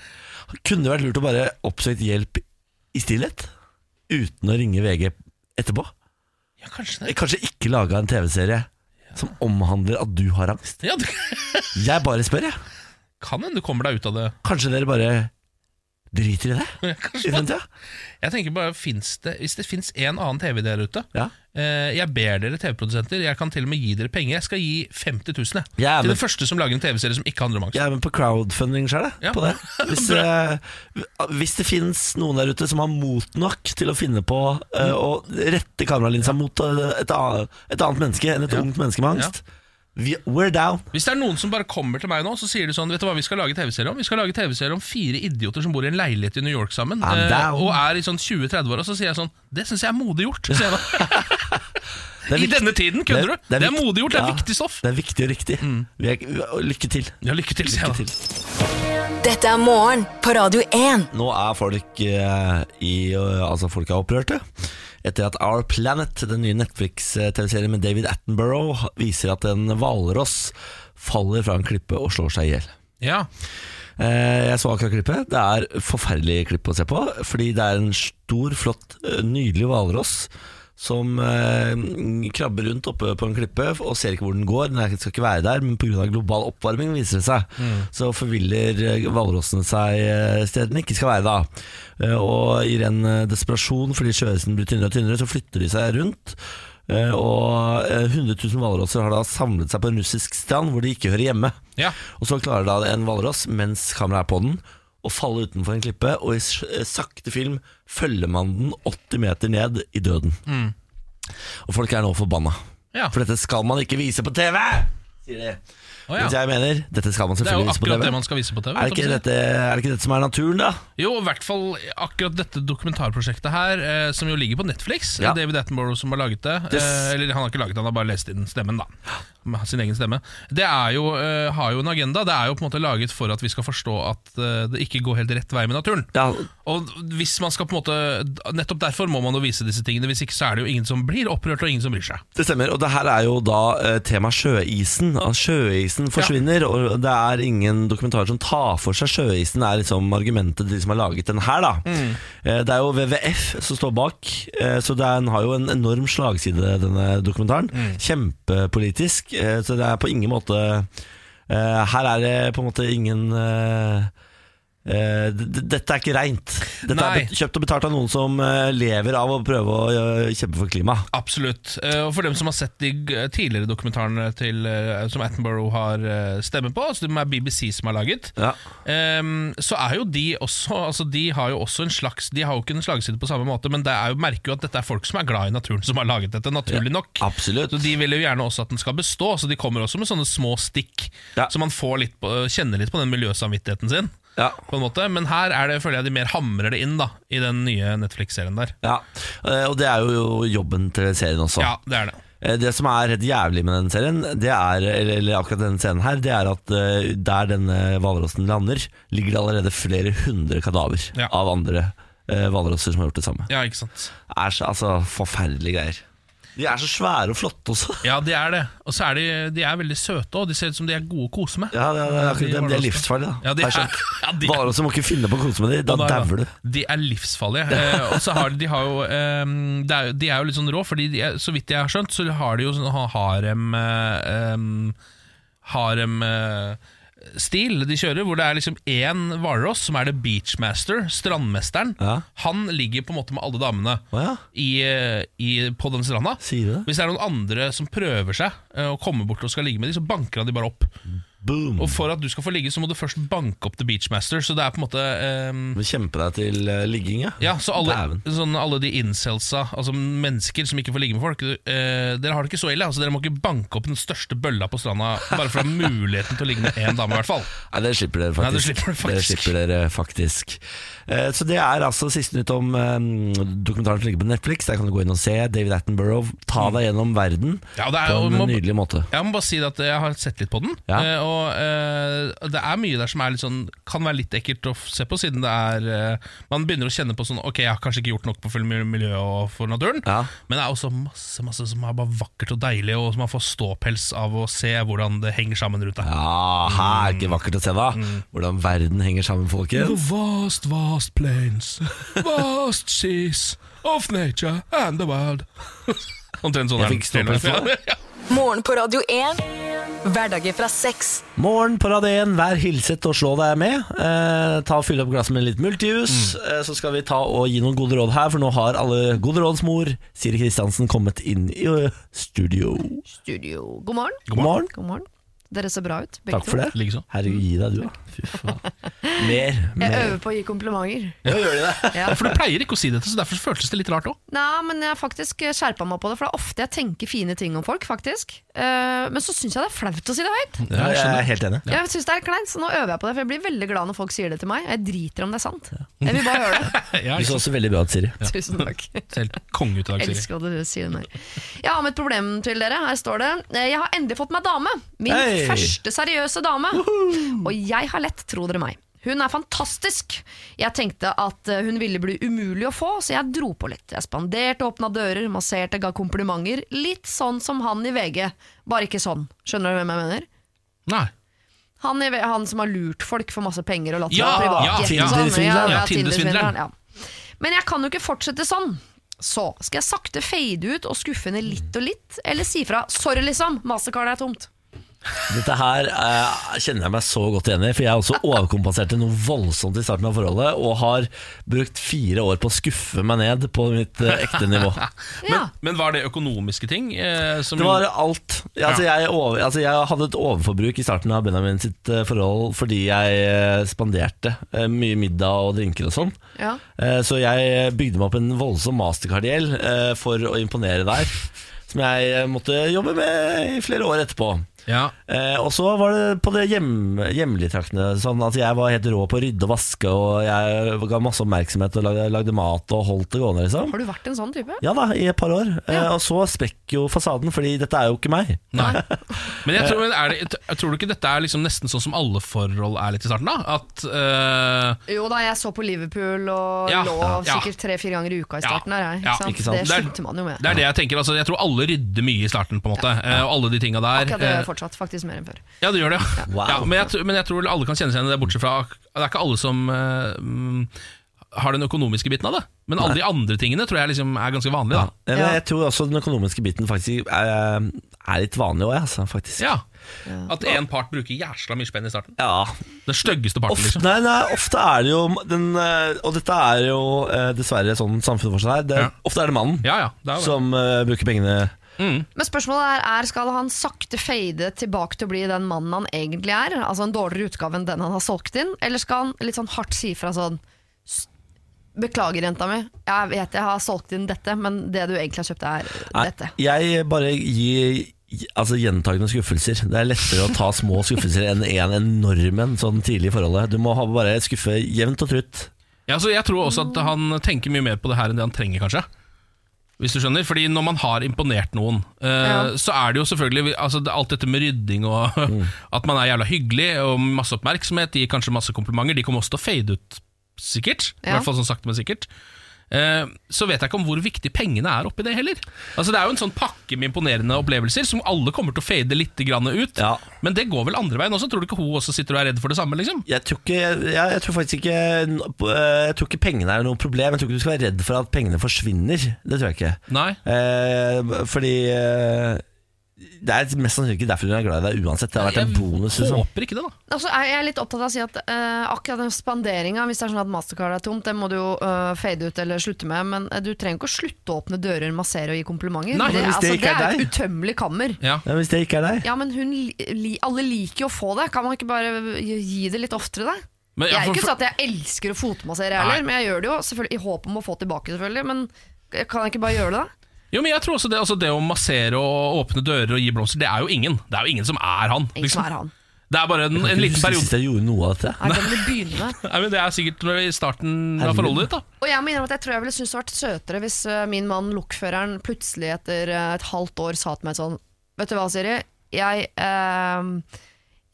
Speaker 2: Kunne det vært lurt å bare oppsøke hjelp i stillhet? Uten å ringe VG etterpå?
Speaker 1: Ja, kanskje det.
Speaker 2: Kanskje ikke laga en TV-serie som omhandler at du har angst?
Speaker 1: Ja, det
Speaker 2: Jeg bare spør, jeg.
Speaker 1: kan hende du kommer deg ut av det.
Speaker 2: Kanskje dere bare driter i det? I fremtida?
Speaker 1: Jeg tenker bare, finnes det, Hvis det fins én annen TV der ute
Speaker 2: Ja.
Speaker 1: eh, Jeg ber dere TV-produsenter, jeg kan til og med gi dere penger. Jeg skal gi 50 000 jeg,
Speaker 2: Ja,
Speaker 1: til
Speaker 2: men-
Speaker 1: den første som lager en TV-serie som ikke handler om angst.
Speaker 2: Jeg er med på crowdfunding sjøl, jeg.
Speaker 1: Ja.
Speaker 2: På det. Hvis, eh, hvis det fins noen der ute som har mot nok til å finne på eh,
Speaker 1: Mm.
Speaker 2: å rette kameralinsa mot eh, et, annet, et annet menneske enn et ungt menneske med angst, vi, we're down.
Speaker 1: Hvis det er noen som bare kommer til meg nå Så sier de sånn, vet du hva vi skal lage tv-serie om? Vi skal lage tv-serie om fire idioter som bor i en leilighet i New York sammen
Speaker 2: I'm down.
Speaker 1: Og er i sånn 20-30 år Og så sier jeg sånn, det synes jeg er modig gjort sier jeg da.
Speaker 2: Det er
Speaker 1: I
Speaker 2: viktig-
Speaker 1: denne tiden, kødder du? Det er
Speaker 2: vikt-
Speaker 1: modig gjort, det er
Speaker 2: ja,
Speaker 1: viktig stoff Mm.
Speaker 2: Det er viktig og riktig. Vi er, lykke til.
Speaker 1: Ja, lykke til, sier
Speaker 2: Lykke
Speaker 1: jeg da
Speaker 2: til.
Speaker 3: Dette er morgen på Radio 1.
Speaker 2: Nå er folk eh, i eh, Altså folk er opprørte Etter at Our Planet, den nye Netflix-TV-serien med David Attenborough Viser at en valross faller fra en klippe og slår seg ihjel
Speaker 1: Ja.
Speaker 2: Eh, Jeg så akkurat klippet Det er forferdelig klipp å se på Fordi det er en stor, flott, eh, nydelig valross som eh, krabber rundt oppe på en klippe Og ser ikke hvor den går Den er- skal ikke være der Men på grunn av global oppvarming viser det seg Så forviller eh, valrossene seg eh, Stedene ikke skal være da Eh, Og i ren eh, desperasjon Fordi sjøisen blir tynnere og tynnere Så flytter de seg rundt Eh, Og eh, 100 000 valrosser har da samlet seg på en russisk strand Hvor de ikke hører hjemme
Speaker 1: Ja.
Speaker 2: og så klarer da en valross, mens kameraet er på den, å falle utenfor en klippe, og i s- eh, sakte film følger man den 80 meter ned i døden.
Speaker 1: Mm.
Speaker 2: Og folk er nå forbanna.
Speaker 1: Ja.
Speaker 2: For dette skal man ikke vise på TV! Sier de.
Speaker 1: Å,
Speaker 2: Mens
Speaker 1: ja.
Speaker 2: jeg mener, dette skal man
Speaker 1: Det er jo
Speaker 2: selvfølgelig vise på
Speaker 1: akkurat
Speaker 2: TV.
Speaker 1: det man skal vise på TV.
Speaker 2: Er det,
Speaker 1: kan
Speaker 2: ikke
Speaker 1: du si.
Speaker 2: dette, er det ikke dette som er naturen, da?
Speaker 1: Jo, i hvert fall akkurat dette dokumentarprosjektet her, eh, som jo ligger på Netflix.
Speaker 2: Ja.
Speaker 1: David Attenborough som har laget det.
Speaker 2: Yes.
Speaker 1: Eh, eller han har ikke laget det, han har bare lest inn stemmen, da. Med Sin egen stemme. Det er jo, eh, har jo en agenda. Det er jo på en måte laget for at vi skal forstå at eh, det ikke går helt rett vei med naturen.
Speaker 2: Ja,
Speaker 1: Og hvis man skal på en måte Nettopp derfor må man jo vise disse tingene. Hvis ikke så er det jo ingen som blir opprørt, og ingen som bryr seg.
Speaker 2: det stemmer. Og det her er jo da eh, tema sjøisen. At sjøisen forsvinner, og det er ingen dokumentarer som tar for seg sjøisen, er liksom argumentet til de som har laget den her, da. Eh, Det er jo WWF som står bak, eh, så den har jo en enorm slagside, denne dokumentaren. Kjempepolitisk, eh, så det er på ingen måte eh, Her er det på en måte ingen eh, eh, d- d- dette er ikke reint. Dette
Speaker 1: Nei.
Speaker 2: er bet- kjøpt og betalt av noen som eh, lever av å prøve å eh, kjempe for klima.
Speaker 1: Absolutt. Eh, Og for dem som har sett de g- eh, tidligere dokumentarene til, eh, som Attenborough har eh, stemme på, altså de er BBC som har laget,
Speaker 2: Ja.
Speaker 1: ehm, så er jo de også altså De har jo også en slags De har jo ikke en slagside på samme måte, men det er jo, merker jo at dette er folk som er glad i naturen, som har laget dette, naturlig nok.
Speaker 2: Absolutt.
Speaker 1: Så De vil jo gjerne også at den skal bestå, så de kommer også med sånne små stikk,
Speaker 2: Ja.
Speaker 1: så man får litt på, kjenner litt på den miljøsamvittigheten sin.
Speaker 2: Ja.
Speaker 1: På en måte. Men her er det, føler jeg de mer hamrer det inn da i den nye Netflix-serien der.
Speaker 2: Ja, eh, og det er jo jobben til serien også.
Speaker 1: Ja, det er det.
Speaker 2: Eh, Det som er helt jævlig med den serien, det er, eller, eller akkurat denne scenen her, det er at eh, der denne hvalrossen lander, ligger det allerede flere hundre kadaver
Speaker 1: Ja.
Speaker 2: av andre eh, hvalrosser som har gjort det samme.
Speaker 1: Ja, ikke sant
Speaker 2: Det er så, altså forferdelige greier. De er så svære og flotte også.
Speaker 1: Ja, de er det. Og så er de, de er veldig søte òg. De ser ut som de er gode å kose med.
Speaker 2: Ja, det er, det er, akkurat, det, det er livsfarlig, da.
Speaker 1: Ja, de
Speaker 2: Har jeg
Speaker 1: er-
Speaker 2: skjønt.
Speaker 1: ja, de er-
Speaker 2: Hvalrosser må ikke finne på å kose med dem, da
Speaker 1: Og da-
Speaker 2: dauer du.
Speaker 1: De er livsfarlige. Eh, og så har de, de har jo eh, det er, jo- De er jo litt sånn rå, Fordi de er, så vidt jeg har skjønt, så har de jo sånn ha- harem eh, em, Harem eh, Stil de kjører, hvor det er liksom én hvalross som er the beachmaster, strandmesteren.
Speaker 2: Ja.
Speaker 1: Han ligger på en måte med alle damene
Speaker 2: Å ja.
Speaker 1: i, eh, i, på den stranda.
Speaker 2: Sier du det?
Speaker 1: Hvis det er noen andre som prøver seg eh, og kommer bort og skal ligge med dem, så banker han de bare opp.
Speaker 2: Boom.
Speaker 1: Og for at du skal få ligge, så må du først banke opp The Beachmaster. Så det er på en måte ehm,
Speaker 2: Du kjemper deg til eh, ligging, ja.
Speaker 1: Ja, så alle,
Speaker 2: Dæven.
Speaker 1: sånn, alle de incelsa, altså mennesker som ikke får ligge med folk eh, Dere har det ikke så ille. Altså, dere må ikke banke opp den største bølla på stranda bare for å ha muligheten til å ligge med én dame, i hvert fall.
Speaker 2: Nei, det slipper dere faktisk.
Speaker 1: Nei, det slipper dere faktisk.
Speaker 2: Det slipper dere faktisk. Eh, Så det er altså siste nytt om eh, dokumentaren som ligger på Netflix. Der kan du gå inn og se David Attenborough ta deg gjennom verden
Speaker 1: Mm. Ja, det er-
Speaker 2: på
Speaker 1: og
Speaker 2: en
Speaker 1: må-
Speaker 2: nydelig måte.
Speaker 1: Jeg må bare si det at jeg har sett litt på den,
Speaker 2: Ja.
Speaker 1: eh, og eh, det er mye der som er litt sånn, kan være litt ekkelt å f- se på, siden det er eh, Man begynner å kjenne på sånn Ok, jeg har kanskje ikke gjort nok på full mil- miljø og for naturen,
Speaker 2: Ja.
Speaker 1: men det er også masse masse som er bare vakkert og deilig, og som man får ståpels av å se hvordan det henger sammen rundt deg.
Speaker 2: Ja, her er ikke
Speaker 1: Mm.
Speaker 2: vakkert å se da hvordan verden henger sammen, folkens.
Speaker 1: vast, vast plains, vast seas of nature and the world. Omtrent sånn
Speaker 2: Jeg fikk ståpels nå.
Speaker 1: Ja, ja.
Speaker 3: Morgen på Radio 1. Hverdager fra seks.
Speaker 2: Morgen på rad 1, vær hilset og slå deg med. Eh, ta og Fyll opp glasset med litt multijus.
Speaker 1: Mm.
Speaker 2: Eh, så skal vi ta og gi noen gode råd her, for nå har alle gode råds mor, Siri Kristiansen, kommet inn i eh, studio.
Speaker 4: studio. God morgen.
Speaker 2: God morgen.
Speaker 4: God morgen. Dere ser bra ut, begge
Speaker 2: Takk for det.
Speaker 1: Likeså.
Speaker 2: Herregud, gi deg du, da. Fy faen. Mer.
Speaker 4: Jeg
Speaker 2: mer.
Speaker 4: øver på å gi komplimenter.
Speaker 2: Nå gjør de det.
Speaker 4: Ja.
Speaker 1: For du pleier ikke å si dette, så derfor føltes det litt rart òg.
Speaker 4: Nei, men jeg har faktisk skjerpa meg på det, for det er ofte jeg tenker fine ting om folk, faktisk. Eh, men så syns jeg det er flaut å si det høyt.
Speaker 2: Ja, jeg er helt enig.
Speaker 4: Jeg synes det er kleint, så nå øver jeg på det, for jeg blir veldig glad når folk sier det til meg. Jeg driter om det er sant. Jeg vil bare høre det.
Speaker 1: Ja,
Speaker 2: Du så også veldig bra ut, Siri.
Speaker 4: Tusen takk.
Speaker 1: Helt konge ut i dag,
Speaker 4: Jeg
Speaker 1: Siri.
Speaker 4: elsker at du sier den her. Jeg har med et problem til dere. Her står det. eh, Jeg har endelig fått meg dame. Min
Speaker 2: Hei!
Speaker 4: første seriøse dame. Og jeg har lett, tro dere meg. Hun er fantastisk! Jeg tenkte at eh, hun ville bli umulig å få, så jeg dro på litt. Jeg spanderte, åpna dører, masserte, ga komplimenter. Litt sånn som han i VG, bare ikke sånn. Skjønner du hvem jeg mener?
Speaker 1: Nei.
Speaker 4: Han, i, han som har lurt folk for masse penger og latt
Speaker 1: Ja,
Speaker 4: seg
Speaker 1: ja,
Speaker 4: privatjet og sånn.
Speaker 1: Tinder-svindleren. Ja, Tinder-svindleren.
Speaker 4: Ja. Men jeg kan jo ikke fortsette sånn. Så skal jeg sakte fade ut og skuffe henne litt og litt, eller si fra 'sorry, liksom, mastercardet er tomt'.
Speaker 2: Dette her eh, kjenner jeg meg så godt igjen i, for jeg er også overkompenserte noe voldsomt i starten av forholdet, og har brukt fire år på å skuffe meg ned på mitt eh, ekte nivå.
Speaker 4: Ja.
Speaker 1: Men var det økonomiske ting? Eh, som
Speaker 2: Det var alt. Altså, jeg, over, altså, jeg hadde et overforbruk i starten av Benjamin sitt eh, forhold fordi jeg eh, spanderte eh, mye middag og drinker og sånn.
Speaker 4: Ja.
Speaker 2: Eh, Så jeg bygde meg opp en voldsom mastercardiell eh, for å imponere der, som jeg eh, måtte jobbe med i flere år etterpå.
Speaker 1: Ja.
Speaker 2: Eh, og så var det på det hjem, hjemlige traktene. Sånn at jeg var helt rå på å rydde og vaske, og jeg ga masse oppmerksomhet og lagde, lagde mat og holdt det gående, liksom.
Speaker 4: Har du vært en sånn type?
Speaker 2: Ja da, i et par år. Eh, og så sprekker jo fasaden, fordi dette er jo ikke meg.
Speaker 1: Nei. Men jeg tror, men er det, jeg tror du ikke dette er liksom nesten sånn som alle forhold er litt i starten? da? At eh,
Speaker 4: Jo da, jeg så på Liverpool og
Speaker 1: Ja.
Speaker 4: lå
Speaker 1: Ja.
Speaker 4: sikkert tre-fire ganger i uka i starten.
Speaker 1: Ja.
Speaker 4: Der, jeg,
Speaker 1: Ja,
Speaker 4: ikke sant?
Speaker 2: ikke sant.
Speaker 4: Det
Speaker 1: Det er-
Speaker 4: slutter man jo med.
Speaker 1: Det er det jeg tenker. altså Jeg tror alle rydder mye i starten, på en måte. eh, Og alle de tinga der.
Speaker 4: Akkurat det gjør
Speaker 1: eh,
Speaker 4: jeg fortsatt, faktisk mer enn før.
Speaker 1: Ja, det gjør det. ja.
Speaker 2: Wow.
Speaker 1: Ja, men, jeg, tr- men jeg tror alle kan kjenne seg igjen i det, bortsett fra ak- Det er ikke alle som eh, mm, har den økonomiske biten av det. Men alle de andre tingene tror jeg liksom er ganske vanlige. da
Speaker 2: Eh, Men
Speaker 4: Ja.
Speaker 2: jeg tror også den økonomiske biten faktisk er, er litt vanlig òg, altså, faktisk.
Speaker 1: ja. At én part bruker jæsla mye spenn i starten.
Speaker 2: Ja.
Speaker 1: Den styggeste parten,
Speaker 2: Ofte,
Speaker 1: liksom.
Speaker 2: nei, nei, ofte er det jo den, eh, Og dette er jo eh, dessverre sånn samfunnet fortsatt er. Det,
Speaker 1: Ja.
Speaker 2: Ofte er det mannen
Speaker 1: Ja, ja, det er jo det.
Speaker 2: som eh, bruker pengene.
Speaker 4: Men spørsmålet er, er skal han sakte fade tilbake til å bli den mannen han egentlig er? Altså en dårligere utgave enn den han har solgt inn? Eller skal han litt sånn hardt si fra sånn "S- Beklager, jenta mi. Jeg vet jeg har solgt inn dette, men det du egentlig har kjøpt, er
Speaker 2: Nei,
Speaker 4: dette.
Speaker 2: Jeg bare gir Altså gjentagende skuffelser Det er lettere å ta små skuffelser Enn en enorm en sånn tidlig i forholdet Du må ha bare skuffe jevnt og trutt
Speaker 1: Ja, så jeg tror også at han tenker mye mer på det her enn det han trenger, kanskje. Hvis du skjønner, fordi Når man har imponert noen, eh, så er det jo selvfølgelig altså, det- alt dette med rydding og at man er jævla hyggelig og masse oppmerksomhet, gir kanskje masse komplimenter. De kommer også til å fade ut, sikkert. I
Speaker 4: Ja.
Speaker 1: hvert fall sånn sakte, men sikkert. Eh, Så vet jeg ikke om hvor viktig pengene er oppi det heller. Altså Det er jo en sånn pakke med imponerende opplevelser som alle kommer til å fade litt grann ut.
Speaker 2: Ja.
Speaker 1: Men det går vel andre veien også? Tror du ikke hun også sitter og er redd for det samme? liksom?
Speaker 2: jeg tror, ikke, jeg, jeg tror faktisk ikke eh, Jeg tror ikke pengene er noe problem Jeg tror ikke du skal være redd for at pengene forsvinner Det tror jeg ikke
Speaker 1: Nei?
Speaker 2: eh, Fordi eh, Det er mest sannsynlig ikke derfor hun er glad i deg uansett Det har vært en bonus
Speaker 1: Jeg
Speaker 2: liksom.
Speaker 1: håper ikke det, da.
Speaker 4: Altså, jeg jeg er litt opptatt av å si at eh, akkurat den spanderinga, hvis det er sånn at Mastercard er tomt, det må du jo eh, fade ut eller slutte med, men eh, du trenger ikke å slutte å åpne dører, massere og gi komplimenter.
Speaker 1: Nei,
Speaker 4: det,
Speaker 2: men hvis
Speaker 4: altså,
Speaker 2: det ikke
Speaker 4: det
Speaker 2: er
Speaker 4: er
Speaker 2: deg.
Speaker 4: et utømmelig kammer.
Speaker 1: Ja.
Speaker 2: ja, Hvis det ikke er deg
Speaker 4: Ja, men hun, li- li, alle liker jo å få det. Kan man ikke bare gi gi det litt oftere, da?
Speaker 1: Men
Speaker 4: Jeg
Speaker 1: ja,
Speaker 4: er
Speaker 1: for-
Speaker 4: ikke sånn at jeg elsker å fotmassere
Speaker 1: Nei.
Speaker 4: heller, men jeg gjør det jo selvfølgelig i håp om å få tilbake, selvfølgelig. Men kan jeg ikke bare gjøre det, da?
Speaker 1: Jo, men jeg tror også det, altså det å massere og åpne dører og gi blomster, det er jo ingen. Det er jo ingen som er han.
Speaker 4: Ingen
Speaker 1: liksom.
Speaker 4: som er han.
Speaker 1: Det er bare en, en liten
Speaker 2: Jeg
Speaker 1: periode.
Speaker 2: synes jeg gjorde noe av dette
Speaker 4: Er det det du begynner med?
Speaker 1: Nei, men Det er sikkert når det er i starten av
Speaker 2: Herregud.
Speaker 1: forholdet ditt. da
Speaker 4: Og jeg må innrømme at jeg tror jeg ville syntes det hadde vært søtere hvis eh, min mann, lokføreren, plutselig etter eh, et halvt år sa til meg sånn Vet du hva, Siri? Jeg, eh,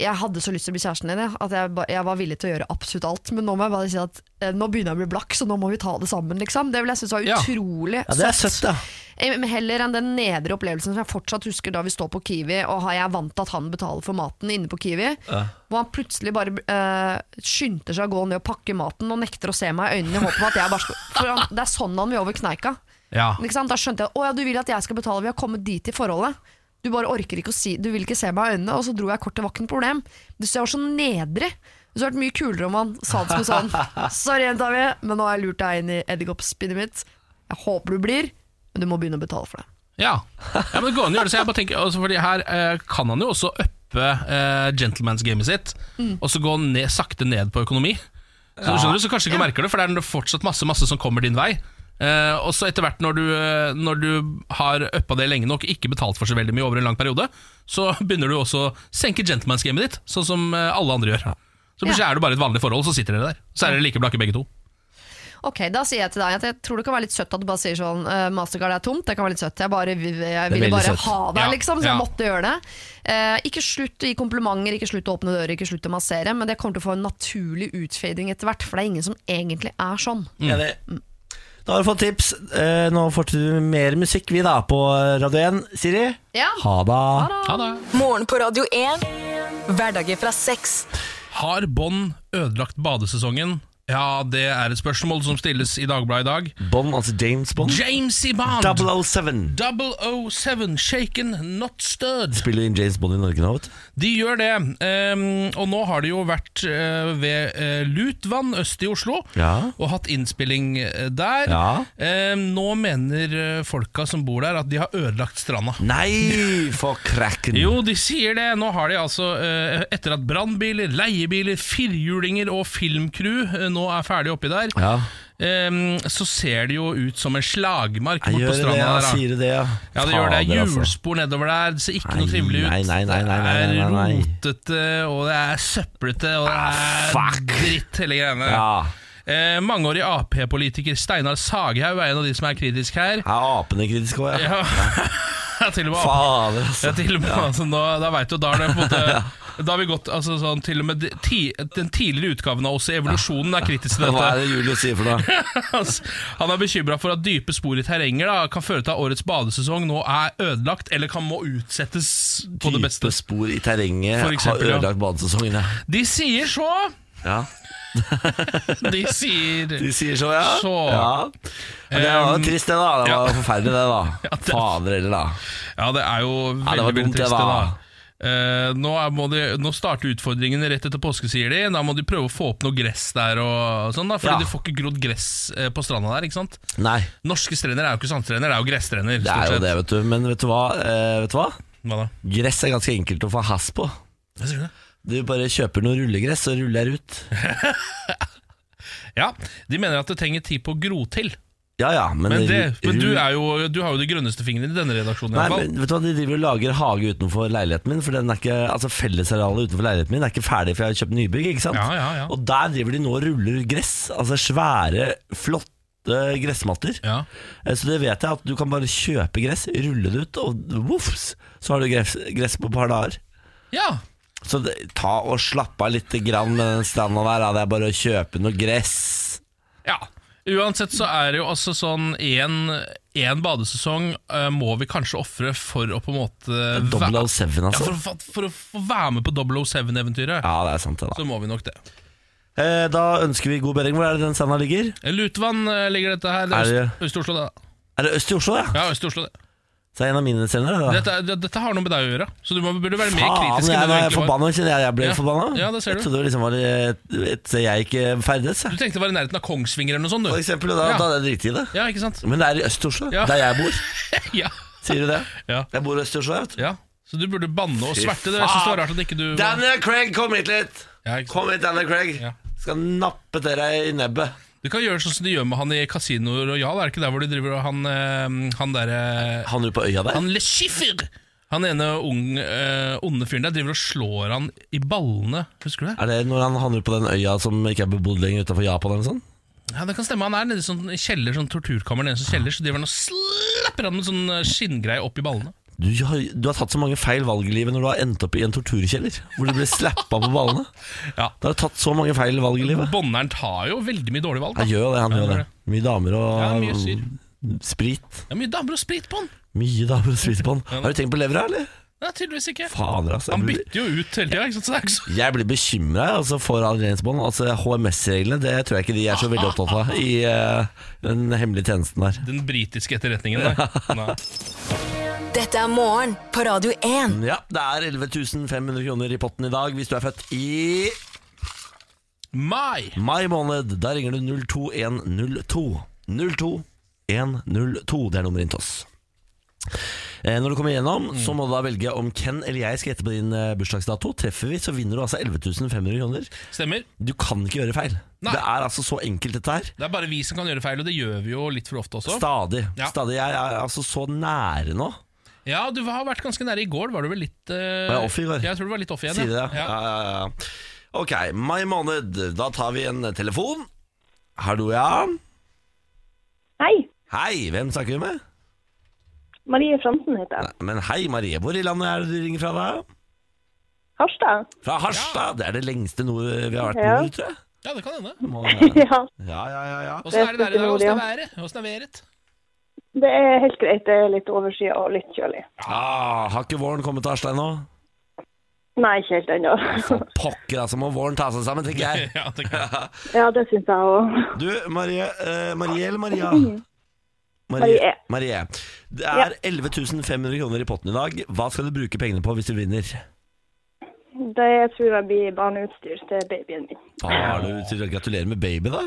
Speaker 4: jeg hadde så lyst til å bli kjæresten din, jeg, at jeg, ba- jeg var villig til å gjøre absolutt alt. Men nå må jeg bare si at eh, nå begynner jeg å bli blakk, så nå må vi ta det sammen, liksom. Det ville jeg synes var
Speaker 1: Ja.
Speaker 4: utrolig
Speaker 2: Ja, det er søtt da
Speaker 4: Eh, men Heller enn den nedre opplevelsen som jeg fortsatt husker da vi står på Kiwi, og har jeg er vant til at han betaler for maten inne på Kiwi, hvor han plutselig bare eh, skynder seg å gå ned og pakke maten og nekter å se meg i øynene i håp om at jeg bare skal For han, det er sånn han vil over kneika.
Speaker 1: Ja.
Speaker 4: Ikke sant? Da skjønte jeg at ja, du vil at jeg skal betale, vi har kommet dit i forholdet. Du bare orker ikke å si Du vil ikke se meg i øynene, og så dro jeg kort til vakken problem. Du synes jeg var så nedrig. Det hadde vært mye kulere om han sa det som sånn Sorry, jenta mi, men nå har jeg lurt deg inn i edderkoppspinnet mitt. Jeg håper du blir, men du må begynne å betale for det.
Speaker 1: ja. ja, men det går an å gjøre det. Så jeg bare tenker, altså, fordi her eh, kan han jo også uppe eh, gentleman's-gamet sitt, og så gå ned, sakte ned på økonomi. Så skjønner du, så kanskje du ikke merker det, for det er fortsatt masse masse som kommer din vei. Eh, og så etter hvert, når du, eh, når du har uppa det lenge nok, ikke betalt for så veldig mye over en lang periode, så begynner du også å senke gentleman's-gamet ditt, sånn som eh, alle andre gjør. Så plutselig er det bare et vanlig forhold, så sitter dere der. Så er dere like blakke begge to.
Speaker 4: Ok, da sier jeg til deg at jeg tror det kan være litt søtt at du bare sier sånn eh, Mastercard er tomt, det kan være litt søtt. Jeg, bare, jeg ville
Speaker 2: veldig
Speaker 4: bare
Speaker 2: søtt.
Speaker 4: ha deg,
Speaker 1: Ja,
Speaker 4: liksom, så
Speaker 1: ja.
Speaker 4: jeg måtte gjøre det. Eh, ikke slutt å gi komplimenter, ikke slutt å åpne dører, ikke slutt å massere, men det kommer til å få en naturlig utfading etter hvert, for det er ingen som egentlig er sånn.
Speaker 1: Mm.
Speaker 2: Enig. Da har du fått tips. Eh, Nå fortsetter vi med mer musikk vi da på Radio 1. Siri,
Speaker 4: Ja.
Speaker 2: ha da.
Speaker 1: Ha det.
Speaker 3: Morgen på Radio 1. Hverdager fra seks.
Speaker 1: Har Bånd ødelagt badesesongen? Ja, det er et spørsmål som stilles i Dagbladet i dag.
Speaker 2: Bond, altså James Bond.
Speaker 1: James i Bond!
Speaker 2: 007.
Speaker 1: 007, shaken, not stirred.
Speaker 2: Spiller inn James Bond i Norge nå, vet du.
Speaker 1: De gjør det, ehm, og nå har de jo vært eh, ved eh, Lutvann øst i Oslo
Speaker 2: Ja.
Speaker 1: og hatt innspilling eh, der.
Speaker 2: Ja.
Speaker 1: Ehm, nå mener eh, folka som bor der at de har ødelagt stranda.
Speaker 2: Nei, for krakken.
Speaker 1: Jo, de sier det. Nå har de altså, eh, etter at brannbiler, leiebiler, firhjulinger og filmcrew eh, nå er ferdig oppi der,
Speaker 2: Ja,
Speaker 1: ehm, så ser det jo ut som en slagmark
Speaker 2: jeg
Speaker 1: borte på
Speaker 2: gjør det,
Speaker 1: stranda
Speaker 2: ja.
Speaker 1: der. da.
Speaker 2: Sier du det, ja.
Speaker 1: Ja, det gjør
Speaker 2: Fader,
Speaker 1: det.
Speaker 2: altså.
Speaker 1: Hjulspor nedover der. Det ser ikke
Speaker 2: Nei,
Speaker 1: noe trivelig ut.
Speaker 2: nei, nei, nei, nei, nei, nei, nei, nei. Ah,
Speaker 1: Det er rotete, og det er søplete, og det er
Speaker 2: fuck.
Speaker 1: dritt hele greiene.
Speaker 2: Ja.
Speaker 1: Eh, mangeårig Ap-politiker Steinar Sagehaug er en av de som er kritisk her.
Speaker 2: Er apene kritiske òg, ja?
Speaker 1: Ja, til og med Ap-
Speaker 2: Fader,
Speaker 1: ja,
Speaker 2: altså.
Speaker 1: til og med, altså, nå, da vet du, da er det på en måte Da har vi gått altså, sånn, Til og med de, ti, den tidligere utgaven av oss i Evolusjonen er kritisk til
Speaker 2: Hva
Speaker 1: dette.
Speaker 2: er det Julius sier for noe?
Speaker 1: Altså, Han er bekymra for at dype spor i terrenger da, kan føre til at årets badesesong nå er ødelagt, eller kan må utsettes på det beste.
Speaker 2: Dype spor i terrenget
Speaker 1: For eksempel,
Speaker 2: har
Speaker 1: ja.
Speaker 2: ødelagt badesesongen, ja.
Speaker 1: De sier så!
Speaker 2: ja.
Speaker 1: De sier
Speaker 2: De sier så, ja.
Speaker 1: Så.
Speaker 2: ja. Men det var
Speaker 1: Um,
Speaker 2: jo trist, det, da. Det
Speaker 1: ja.
Speaker 2: var forferdelig, det, da.
Speaker 1: Ja, det-
Speaker 2: Fader heller, da.
Speaker 1: Ja, det er jo
Speaker 2: Ja, det
Speaker 1: veldig,
Speaker 2: var
Speaker 1: veldig
Speaker 2: dumt, det
Speaker 1: trist, det,
Speaker 2: var.
Speaker 1: da. Eh, nå, er, må de, nå starter utfordringene rett etter påske, sier de. Da må de prøve å få opp noe gress der, og sånn da fordi
Speaker 2: Ja.
Speaker 1: de får ikke grodd gress eh, på stranda der. ikke sant?
Speaker 2: Nei,
Speaker 1: Norske strender er jo ikke sandstrender, det er jo gresstrender.
Speaker 2: det er
Speaker 1: stort
Speaker 2: jo det,
Speaker 1: sett.
Speaker 2: vet du. Men vet du hva? Eh, vet du hva?
Speaker 1: Hva da?
Speaker 2: Gress er ganske enkelt å få hass på.
Speaker 1: Hva sier du?
Speaker 2: Du bare kjøper noe rullegress og ruller ut.
Speaker 1: Ja, De mener at det trenger tid på å gro til.
Speaker 2: Ja ja, men,
Speaker 1: Men, det,
Speaker 2: rull-
Speaker 1: men du, er jo, du har jo de grønneste fingrene i denne redaksjonen.
Speaker 2: Nei,
Speaker 1: i hvert fall.
Speaker 2: men vet du hva, De driver og lager hage utenfor leiligheten min. For den er ikke, altså Fellesarealet utenfor leiligheten min er ikke ferdig, for jeg har kjøpt nybygg. ikke sant?
Speaker 1: Ja, ja, ja.
Speaker 2: Og der driver de nå og ruller gress. Altså svære, flotte gressmatter.
Speaker 1: Ja.
Speaker 2: Eh, Så det vet jeg at du kan bare kjøpe gress, rulle det ut, og voffs, så har du gress, gress på et par dager.
Speaker 1: ja.
Speaker 2: Så det, ta og slapp av litt grann med den stranda der. da. Det er bare å kjøpe noe gress.
Speaker 1: ja. Uansett så er det jo altså sånn én badesesong eh, må vi kanskje ofre for å på en måte væ-
Speaker 2: 007,
Speaker 1: ja,
Speaker 2: altså.
Speaker 1: for, å fa- for å få være med på 007-eventyret.
Speaker 2: Ja, det er sant, det, da.
Speaker 1: Så må vi nok det.
Speaker 2: Eh, da ønsker vi god bedring. Hvor er det den stranda ligger?
Speaker 1: Lutvann eh, ligger dette
Speaker 2: Er
Speaker 1: her. Det
Speaker 2: det-
Speaker 1: er Øst- Øst-Oslo, det.
Speaker 2: Er det øst i Oslo, ja?
Speaker 1: Ja, Øst-Oslo, det.
Speaker 2: Så det er en av mine strender. det, da.
Speaker 1: Dette, er- dette har noe med deg å gjøre, så du må, burde være mer
Speaker 2: Ah. Faen,
Speaker 1: kritisk. enn
Speaker 2: jeg,
Speaker 1: du
Speaker 2: nå er jeg
Speaker 1: egentlig var.
Speaker 2: forbanna, kjenner jeg. Jeg ble
Speaker 1: Ja.
Speaker 2: forbanna.
Speaker 1: Ja, det ser
Speaker 2: Jeg
Speaker 1: du.
Speaker 2: trodde det liksom var et, et sted jeg ikke ferdes. jeg.
Speaker 1: Du tenkte å være i nærheten av Kongsvinger eller noe sånt,
Speaker 2: For
Speaker 1: du.
Speaker 2: eksempel, og da,
Speaker 1: Ja.
Speaker 2: da hadde jeg driti i det.
Speaker 1: Ja, ikke sant?
Speaker 2: Men det er i Øst-Oslo,
Speaker 1: Ja.
Speaker 2: der jeg bor.
Speaker 1: ja.
Speaker 2: Sier du det?
Speaker 1: Ja.
Speaker 2: Jeg bor i Øst-Oslo, jeg, vet du.
Speaker 1: ja. Så du burde banne og
Speaker 2: Fy
Speaker 1: sverte. Det- Jeg synes det
Speaker 2: faen.
Speaker 1: var rart at ikke du
Speaker 2: Daniel Craig, kom hit litt!
Speaker 1: Ja, ikke sant?
Speaker 2: Kom hit, Daniel Craig.
Speaker 1: Ja.
Speaker 2: Skal nappe til deg i nebbet.
Speaker 1: Du kan gjøre sånn som de gjør med han i Casino Royal. Er det ikke der hvor de driver og han, eh, han derre
Speaker 2: Han ute på øya der?
Speaker 1: Han Le Chiffre! Han ene ung, eh, onde fyren der driver og slår han i ballene. Husker du det?
Speaker 2: Er det når han handler på den øya som ikke er bebodd lenger utenfor Japan eller noe sånt?
Speaker 1: Ja, det kan stemme. Han er nede i sånn kjeller, sånn torturkammer nede i sånn kjeller, så driver han og slapper han med sånn eh, skinngreie opp i ballene.
Speaker 2: Du har, du har tatt så mange feil valg i livet når du har endt opp i en torturkjeller. Hvor du blir slappa på ballene.
Speaker 1: Ja.
Speaker 2: Du har tatt så mange feil valg i livet.
Speaker 1: Bonneren tar jo veldig mye dårlige valg.
Speaker 2: Han
Speaker 1: Da.
Speaker 2: gjør jo det, han
Speaker 1: Ja,
Speaker 2: gjør
Speaker 1: han
Speaker 2: det.
Speaker 1: gjør
Speaker 2: Mye damer og
Speaker 1: Ja, mye syr.
Speaker 2: sprit.
Speaker 1: Det er mye damer og sprit på han.
Speaker 2: Mye damer og sprit på han. Har du tenkt på levra, eller?
Speaker 1: Nei, tydeligvis ikke.
Speaker 2: Fader, altså.
Speaker 1: Han
Speaker 2: Jeg blir,
Speaker 1: bytter jo ut hele tida, ikke sant. Så det er ikke så
Speaker 2: jeg blir bekymra altså, for adrenalinsbånd. Altså, HMS-reglene det tror jeg ikke de er så veldig opptatt av i eh, den hemmelige tjenesten der.
Speaker 1: Den britiske etterretningen der. Nei.
Speaker 3: Dette er morgen på Radio 1.
Speaker 2: Ja, det er 11 500 kroner i potten i dag hvis du er født i
Speaker 1: Mai!
Speaker 2: mai måned. Da ringer du 02102. 02102, det er nummeret inn til oss. Eh, Når du kommer igjennom,
Speaker 1: Mm.
Speaker 2: så må du da velge om Ken eller jeg skal gjette på din eh, bursdagsdato. Treffer vi, så vinner du altså 11 500 kroner.
Speaker 1: Stemmer.
Speaker 2: Du kan ikke gjøre feil.
Speaker 1: Nei.
Speaker 2: Det er altså så enkelt, dette her.
Speaker 1: Det er bare vi som kan gjøre feil, og det gjør vi jo litt for ofte også.
Speaker 2: Stadig.
Speaker 1: Ja.
Speaker 2: Stadig. Jeg er altså så nære nå.
Speaker 1: Ja, du har vært ganske nære i går. Var du vel litt eh,
Speaker 2: Var jeg off i går?
Speaker 1: Jeg tror du var litt off igjen.
Speaker 2: Sier du det? Ja.
Speaker 1: Ja.
Speaker 2: Ja, ja, ja. Ok, mai måned. Da tar vi en telefon. Hallo, ja.
Speaker 5: Hei,
Speaker 2: Hei, hvem snakker vi med?
Speaker 5: Marie Fransen heter jeg.
Speaker 2: Nei, men hei, Marie. Hvor i landet er det du ringer fra da?
Speaker 5: Harstad?
Speaker 2: Fra Harstad. Det er det lengste nord vi har vært
Speaker 5: Ja.
Speaker 2: nord, tror jeg.
Speaker 1: Ja, det kan hende.
Speaker 2: Må det være.
Speaker 5: Ja,
Speaker 2: Ja, ja, ja, ja.
Speaker 1: Åssen er det der i dag?
Speaker 5: Det
Speaker 1: Åssen
Speaker 5: er
Speaker 1: er været? Åssen er været?
Speaker 5: det er helt greit. Det er litt overskyet og litt kjølig.
Speaker 2: Ah, har ikke våren kommet til Harstad ennå?
Speaker 5: Nei, ikke helt ennå.
Speaker 2: For pokker, altså må våren ta seg sammen, tenker jeg.
Speaker 1: Ja, tenker jeg.
Speaker 5: Ja, det syns jeg òg.
Speaker 2: Du, Marie, eh, Marie eller Maria?
Speaker 5: Marie.
Speaker 2: Marie. Det er 11 500 kroner i potten i dag. Hva skal du bruke pengene på hvis du vinner?
Speaker 5: Det tror jeg blir barneutstyr til babyen min.
Speaker 2: Har du til å gratulere med baby, da?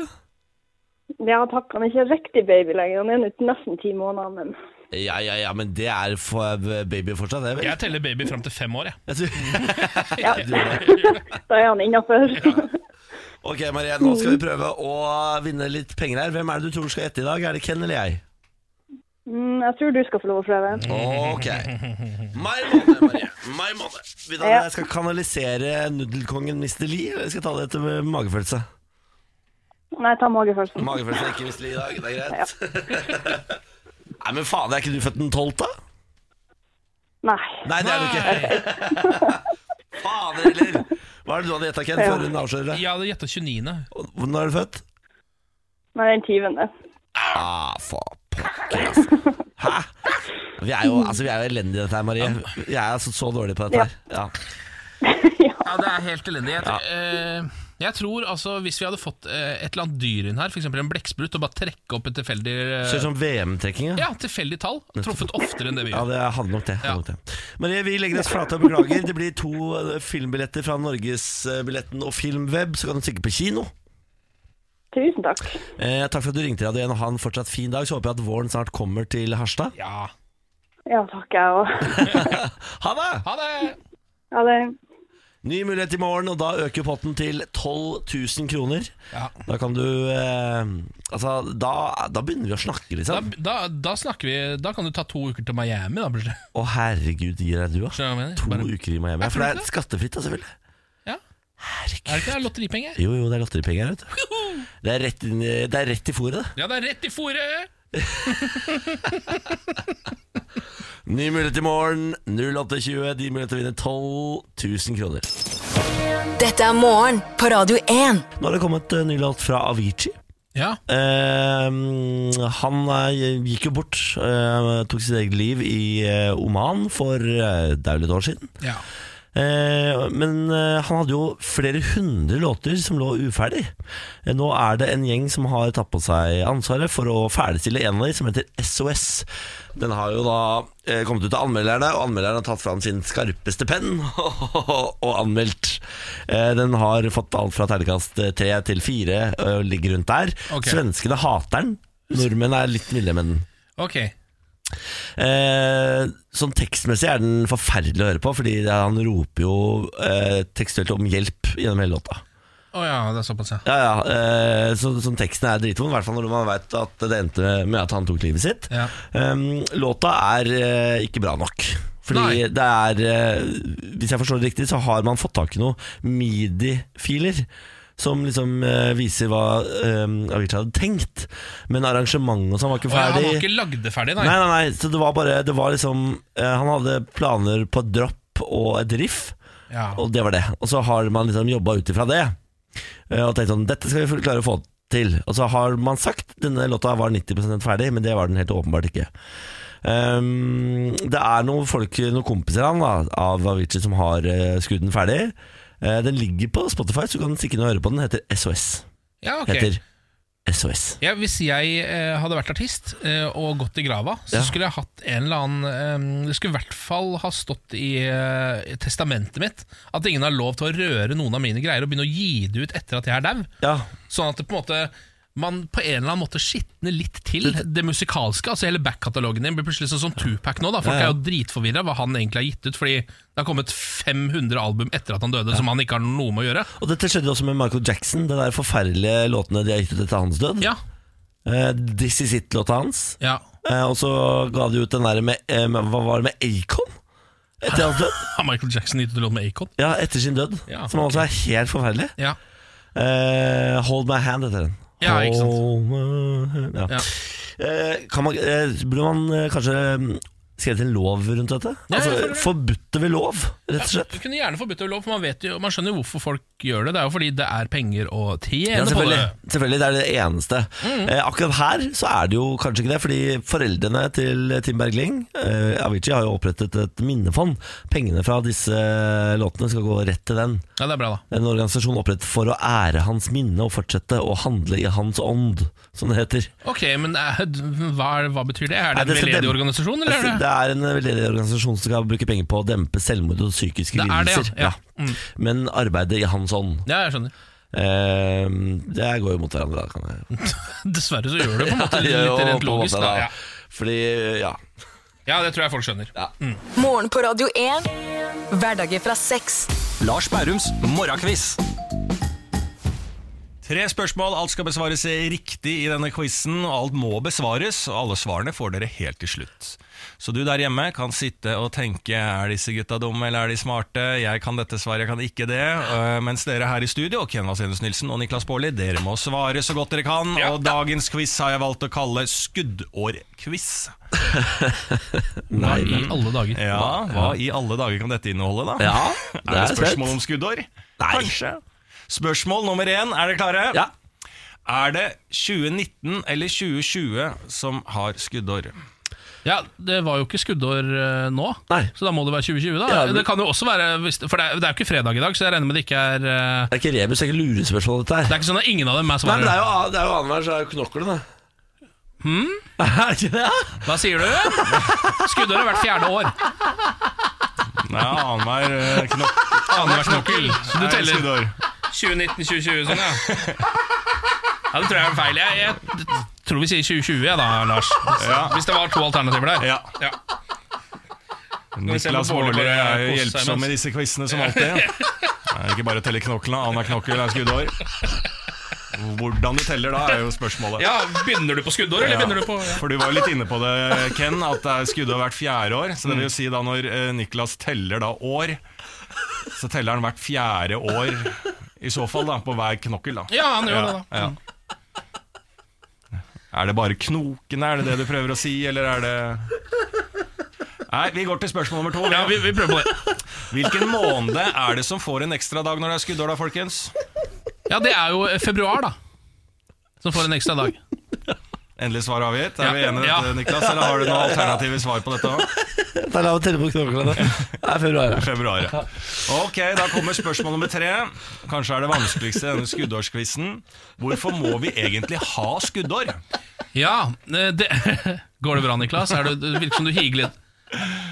Speaker 5: Ja takk, han er ikke riktig baby lenger. Han er nå nesten ti måneder, men
Speaker 2: Ja, ja, ja, men det er for eh, baby fortsatt, det, vel?
Speaker 1: Jeg teller baby fram til fem år, jeg.
Speaker 2: Jeg tror-
Speaker 5: ja,
Speaker 2: Du gjør det.
Speaker 5: da er han innafor.
Speaker 2: Ok, Marie, nå skal vi prøve å vinne litt penger her. Hvem er det du tror skal gjette i dag? Er det Ken eller jeg?
Speaker 5: Mm, jeg tror du skal få lov å prøve.
Speaker 2: Ok. Mai måned, Marie. Mai måned. Vil du at
Speaker 5: Ja.
Speaker 2: jeg skal kanalisere nudelkongen Mr. Lee, eller skal jeg ta det etter med magefølelse?
Speaker 5: Nei, ta magefølelsen.
Speaker 2: Magefølelse er ikke Mr. Lee i dag, det er greit. Nei, men faen, er ikke du født den 12., da?
Speaker 5: Nei.
Speaker 2: Nei, det er du ikke. Fader heller. Hva er det du hadde gjetta, Ken,
Speaker 5: Ja.
Speaker 2: før hun avslører det?
Speaker 1: Jeg hadde gjetta 29.
Speaker 2: Og Når er du født?
Speaker 5: Nei, den tyvende.
Speaker 2: Ah, faen pokker, altså. Hæ? Vi er jo, altså, vi er jo elendige i dette her, Marie. Jeg er altså så dårlig på dette her. Ja.
Speaker 1: Ja, det er helt elendig. Jeg, eh, jeg tror altså Hvis vi hadde fått eh, et eller annet dyr inn her, f.eks. en blekksprut, og bare trekke opp et tilfeldig eh,
Speaker 2: Ser ut som VM-trekking, ja.
Speaker 1: ja, tilfeldig tall, truffet oftere enn det vi
Speaker 2: Ja,
Speaker 1: gjør.
Speaker 2: det hadde nok det.
Speaker 1: Ja.
Speaker 2: Hadde nok det. Marie, vi legger oss flate og beklager. Det blir to eh, filmbilletter fra Norgesbilletten og Filmweb, så kan du stikke på kino.
Speaker 5: Tusen takk.
Speaker 2: Eh, takk for at du ringte Radio 1, og ha en fortsatt fin dag. Så håper jeg at våren snart kommer til Harstad.
Speaker 1: Ja.
Speaker 5: Ja takk, jeg òg.
Speaker 2: Ha det!
Speaker 1: Ha det!
Speaker 5: Ha det.
Speaker 2: Ny mulighet i morgen, og da øker potten til 12 000 kroner.
Speaker 1: Ja.
Speaker 2: Da kan du eh, Altså, da, da begynner vi å snakke,
Speaker 1: Da,
Speaker 2: liksom.
Speaker 1: da, da snakker vi Da kan du ta to uker til Miami, da, plutselig.
Speaker 2: Å, herregud, gir jeg du, da?
Speaker 1: Skjønner du hva jeg
Speaker 2: To
Speaker 1: mener? Bare-
Speaker 2: uker i Miami.
Speaker 1: Er
Speaker 2: For det
Speaker 1: det
Speaker 2: er skattefritt, da, selvfølgelig.
Speaker 1: Ja. Er det
Speaker 2: Herregud.
Speaker 1: ikke det? lotteripenger?
Speaker 2: Jo, jo, det er lotteripenger her, vet du. Det er rett, inn, i- det er rett i fôret, det.
Speaker 1: Ja, det er rett i fòret!
Speaker 2: Ny mulighet i morgen. 08.20. De muligheter til å vinne 12 000 kroner.
Speaker 3: Dette er morgen på Radio 1.
Speaker 2: Nå har det kommet eh, ny låt fra Avicii.
Speaker 1: Ja.
Speaker 2: Eh, han eh, gikk jo bort, eh, tok sitt eget liv i eh, Oman for eh, det er jo litt år siden.
Speaker 1: ja.
Speaker 2: Eh, men eh, han hadde jo flere hundre låter som lå uferdig. Eh, nå er det en gjeng som har tatt på seg ansvaret for å ferdigstille en av de, som heter SOS. Den har jo da eh, kommet ut til anmelderne, og anmelderne har tatt fram sin skarpeste penn og anmeldt. Eh, den har fått alt fra terningkast tre til fire eh, og ligger rundt der.
Speaker 1: Ok.
Speaker 2: Svenskene hater den. Nordmenn er litt milde med den.
Speaker 1: Ok.
Speaker 2: Eh, sånn tekstmessig er den forferdelig å høre på, fordi det- han roper jo eh, tekstuelt om hjelp gjennom hele låta.
Speaker 1: Å ja, det er såpass, ja.
Speaker 2: Ja, ja, eh, så, sånn teksten er dritvond, i hvert fall når man veit at det endte med at han tok livet sitt.
Speaker 1: Ja.
Speaker 2: Um, låta er eh, ikke bra nok. Fordi
Speaker 1: Nei.
Speaker 2: det er eh, Hvis jeg forstår det riktig, så har man fått tak i noen medie-filer. Som liksom eh, viser hva eh, Avicii hadde tenkt. Men arrangementet og sånn var ikke
Speaker 1: Å, ja,
Speaker 2: ferdig.
Speaker 1: han var ikke lagd det ferdig, nei.
Speaker 2: Nei, nei, nei, så det var bare det var liksom, eh, Han hadde planer på et dropp og et riff
Speaker 1: Ja.
Speaker 2: Og det var det Og så har man liksom jobbet ut ifra det eh, Og tenkt sånn, dette skal vi klare å få til Og så har man sagt, denne låta var 90% ferdig Men det var den helt åpenbart ikke Ehm, Det er noen folk, noen kompiser han da Av Avicii som har eh, skutt den ferdig Eh, Den ligger på Spotify, så du kan stikke inn og høre på den Den heter SOS
Speaker 1: Ja, ok.
Speaker 2: Heter SOS
Speaker 1: Ja, hvis jeg eh, hadde vært artist eh, og gått i grava, så
Speaker 2: Ja.
Speaker 1: skulle jeg hatt en eller annen eh, Det skulle i hvert fall ha stått i eh, i testamentet mitt at ingen har lov til å røre noen av mine greier og begynne å gi det ut etter at jeg er dau.
Speaker 2: Ja,
Speaker 1: Sånn at det på en måte man på en eller annen måte skitner litt til det musikalske. Altså Hele backkatalogen din blir plutselig sånn som Tupac nå. Da. Folk
Speaker 2: Ja, ja.
Speaker 1: er jo dritforvirra hva han egentlig har gitt ut, fordi det har kommet 500 album etter at han døde som han ikke har noe med å gjøre.
Speaker 2: Og dette skjedde jo også med Michael Jackson, de der forferdelige låtene de har gitt ut etter hans død.
Speaker 1: Ja,
Speaker 2: Eh, This Is It-låta hans.
Speaker 1: ja
Speaker 2: Eh, og så ga de ut den der med, eh, med Hva var det med Acon? Etter hans død?
Speaker 1: Har Michael Jackson gitt ut en låt med Acon?
Speaker 2: Ja, etter sin død.
Speaker 1: Ja,
Speaker 2: som også er helt forferdelig.
Speaker 1: Ja.
Speaker 2: Eh, Hold My Hand heter den.
Speaker 1: Ja, ikke sant.
Speaker 2: Hold my hand. Ja.
Speaker 1: Ja.
Speaker 2: eh, kan man, eh, Burde man eh, kanskje mm, skrevet en lov rundt dette?
Speaker 1: Ja,
Speaker 2: altså,
Speaker 1: jeg føler det.
Speaker 2: Forbudte ved lov, rett og slett.
Speaker 1: Du kunne gjerne forbudt det ved lov, for man, vet jo, man skjønner jo hvorfor folk gjør det. Det er jo fordi det er penger å tjene
Speaker 2: Ja,
Speaker 1: på det.
Speaker 2: selvfølgelig, selvfølgelig, det er det eneste.
Speaker 1: Mm.
Speaker 2: Eh, akkurat her så er det jo kanskje ikke det, fordi foreldrene til Tim Bergling, eh, Avicii, har jo opprettet et minnefond. Pengene fra disse eh, låtene skal gå rett til den.
Speaker 1: Ja, det er bra, da.
Speaker 2: En organisasjon opprettet for å ære hans minne og fortsette å handle i hans ånd, som det heter.
Speaker 1: Ok, men eh, d- hva, er, hva betyr det? Er
Speaker 2: Nei,
Speaker 1: det en
Speaker 2: skal
Speaker 1: veldedig
Speaker 2: dem-
Speaker 1: organisasjon, eller er det
Speaker 2: Det er en veldedig organisasjon som skal bruke penger på å dempe selvmord og psykiske
Speaker 1: Det er det, ja.
Speaker 2: lidelser.
Speaker 1: Ja. Mm.
Speaker 2: Men arbeidet i hans ånd
Speaker 1: Ja, jeg skjønner.
Speaker 2: eh, Det går jo mot hverandre, da. Kan jeg.
Speaker 1: Dessverre så gjør det på en måte
Speaker 2: Ja,
Speaker 1: litt
Speaker 2: på en
Speaker 1: rent logisk.
Speaker 2: måte,
Speaker 1: Da.
Speaker 2: da.
Speaker 1: Ja.
Speaker 2: Fordi, ja
Speaker 1: ja, det tror jeg folk skjønner.
Speaker 3: Morgen på Radio 1. Hverdager fra seks.
Speaker 6: Lars Bærums morgenkviss.
Speaker 7: Tre spørsmål, alt skal besvares riktig i denne quizen, og alt må besvares, og alle svarene får dere helt til slutt. Så du der hjemme kan sitte og tenke er disse gutta dumme eller er de smarte, jeg kan dette svaret, jeg kan ikke det, øh, mens dere her i studio, Ken Vasenus Nilsen og Niklas Baarli, dere må svare så godt dere kan, og dagens quiz har jeg valgt å kalle skuddårquiz.
Speaker 1: Hva i alle dager?
Speaker 7: Ja, hva i alle dager kan dette inneholde, da?
Speaker 2: Ja,
Speaker 7: er det spørsmål om skuddår? Nei. Kanskje. Spørsmål nummer én, er dere klare?
Speaker 2: Ja.
Speaker 7: Er det 2019 eller 2020 som har skuddår?
Speaker 1: Ja, Det var jo ikke skuddår eh, nå,
Speaker 2: Nei.
Speaker 1: så da må det være 2020. da
Speaker 2: Ja, men-
Speaker 1: Det kan jo også være, hvis- For det er, det er jo ikke fredag i dag, så jeg regner med det ikke er eh,
Speaker 2: Det er ikke rebus, det er ikke lurespørsmål, dette her.
Speaker 1: Det er ikke sånn at ingen av dem er
Speaker 2: Nei, men det
Speaker 1: svaret.
Speaker 2: er jo, det er jo annenhver, så er det jo knokkelen, da. Hmm? Er det ikke det? ja?
Speaker 1: Hva sier du? Skuddår har hvert fjerde år.
Speaker 7: Nei, annenhver eh, knokk.
Speaker 1: Annenhver knokkel. Så du
Speaker 7: er
Speaker 1: teller
Speaker 7: skuddår.
Speaker 1: 2019-2020 sånn, ja. Ja, Det tror jeg er feil. Jeg, jeg tror vi sier 2020, ja, da, Lars.
Speaker 7: Ja.
Speaker 1: Hvis det var to alternativer der.
Speaker 7: Ja.
Speaker 1: Ja. se
Speaker 7: Niklas
Speaker 1: på Bård
Speaker 7: Baarli er jo
Speaker 1: og Kåss her,
Speaker 7: hjelpsom
Speaker 1: men-
Speaker 7: med disse quizene som alltid. Det er ikke bare å telle knoklene, annenhver knokkel er skuddår. Hvordan du teller da, er jo spørsmålet.
Speaker 1: Ja, Begynner du på skuddår, eller
Speaker 7: Ja,
Speaker 1: begynner du på ja.
Speaker 7: For du var jo litt inne på det, Ken, at det er skuddår hvert fjerde år. Så det vil jo si da når eh, Niklas teller da år, så teller han hvert fjerde år i så fall da, på hver knokkel. da.
Speaker 1: Ja, han gjør det, da.
Speaker 7: Ja, ja. Er det bare knokene, er det det du prøver å si, eller er det Nei, vi går til spørsmål nummer to.
Speaker 1: Ja, vi, vi prøver på det.
Speaker 7: Hvilken måned er det som får en ekstra dag når det er skuddår, da, folkens?
Speaker 1: Ja, det er jo eh, februar, da. Som får en ekstra dag.
Speaker 7: Endelig svar avgitt. Er
Speaker 1: Ja.
Speaker 7: vi enige i dette,
Speaker 1: Ja.
Speaker 7: Niklas, eller har du noen alternative svar på dette òg?
Speaker 2: Det er lov å telle på knoklene. Det er februar.
Speaker 7: Februar. ja. Ok, da kommer spørsmål nummer tre. Kanskje er det vanskeligste i denne skuddårskvissen. Hvorfor må vi egentlig ha skuddår?
Speaker 1: Ja, eh, det, Går det bra, Niklas? Er du, det virker som du higer litt.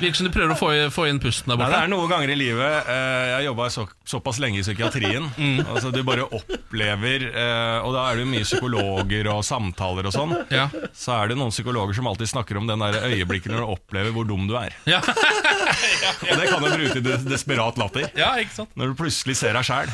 Speaker 1: Virker som du prøver å få, i- få inn pusten der
Speaker 7: Nei,
Speaker 1: borte.
Speaker 7: det er noen ganger i livet eh, Jeg jobba så, såpass lenge i psykiatrien.
Speaker 1: Mm.
Speaker 7: Altså, du bare opplever eh, Og da er det jo mye psykologer og samtaler og sånn.
Speaker 1: Ja.
Speaker 7: Så er det noen psykologer som alltid snakker om den der øyeblikket når du opplever hvor dum du er.
Speaker 1: Ja.
Speaker 7: Og det kan du bruke til des- desperat latter.
Speaker 1: ja, ikke sant
Speaker 7: Når du plutselig ser deg sjæl.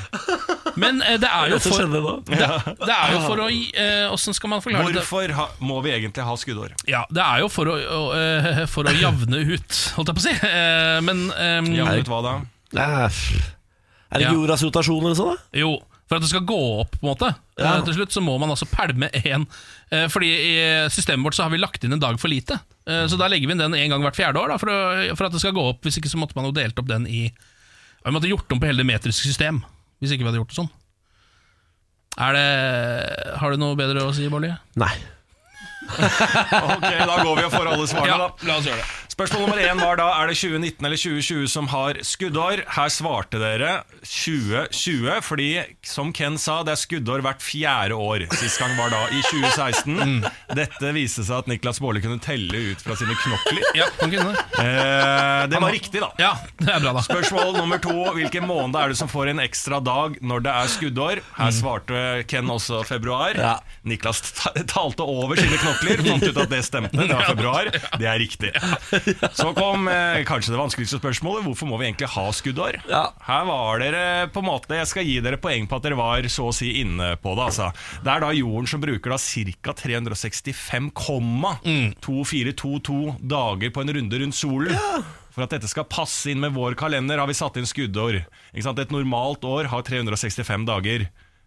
Speaker 1: Men eh, det er jo
Speaker 2: Så
Speaker 1: for,
Speaker 2: skjedde det da.
Speaker 1: det er jo for å gi- eh, Åssen skal man forklare det?
Speaker 7: Hvorfor ha, må vi egentlig ha skuddår?
Speaker 1: Ja, det er jo for å, å, eh, for å javne ut, holdt jeg på å si. Eh, Men ehm,
Speaker 7: Ja, vet du hva da?
Speaker 2: Nei, pff. Er det ikke
Speaker 1: Ja.
Speaker 2: jordas rotasjon eller sånn, da?
Speaker 1: jo, for at det skal gå opp, på en måte,
Speaker 2: Ja.
Speaker 1: eh, til slutt, så må man altså pælme én. Eh, Fordi i systemet vårt så har vi lagt inn en dag for lite. Eh, Så da legger vi inn den en gang hvert fjerde år, da, for, å, for at det skal gå opp. Hvis ikke så måtte man jo delt opp den i Vi måtte gjort om på hele det metriske system, hvis ikke vi hadde gjort det sånn. Er det, har du noe bedre å si, Bolli?
Speaker 2: Nei.
Speaker 7: Ok, Da går vi og får alle svarene, da.
Speaker 1: la oss gjøre det.
Speaker 7: Spørsmål nummer én var da er det 2019 eller 2020 som har skuddår. Her svarte dere 2020, fordi som Ken sa, det er skuddår hvert fjerde år. Sist gang var da i 2016. Dette viste seg at Niklas Baarli kunne telle ut fra sine knokler.
Speaker 1: Ja, man kunne det.
Speaker 7: Eh, det var riktig, da.
Speaker 1: ja, det er bra, da.
Speaker 7: Spørsmål nummer to. Hvilken måned er det som får en ekstra dag når det er skuddår? Her svarte Ken også februar.
Speaker 2: Mm. Ja.
Speaker 7: Niklas ta- talte over sine knokler, fant ut at det stemte. Det var februar. Det er riktig. Så kom eh, kanskje det vanskeligste spørsmålet. Hvorfor må vi egentlig ha skuddår?
Speaker 2: Ja.
Speaker 7: Her var dere på en måte Jeg skal gi dere poeng på at dere var så å si inne på det. Altså. Det er da jorden som bruker da ca.
Speaker 2: Mm.
Speaker 7: 365,2422 dager på en runde rundt solen. For at dette skal passe inn med vår kalender, har vi satt inn skuddår. Ikke sant? Et normalt år har 365 dager.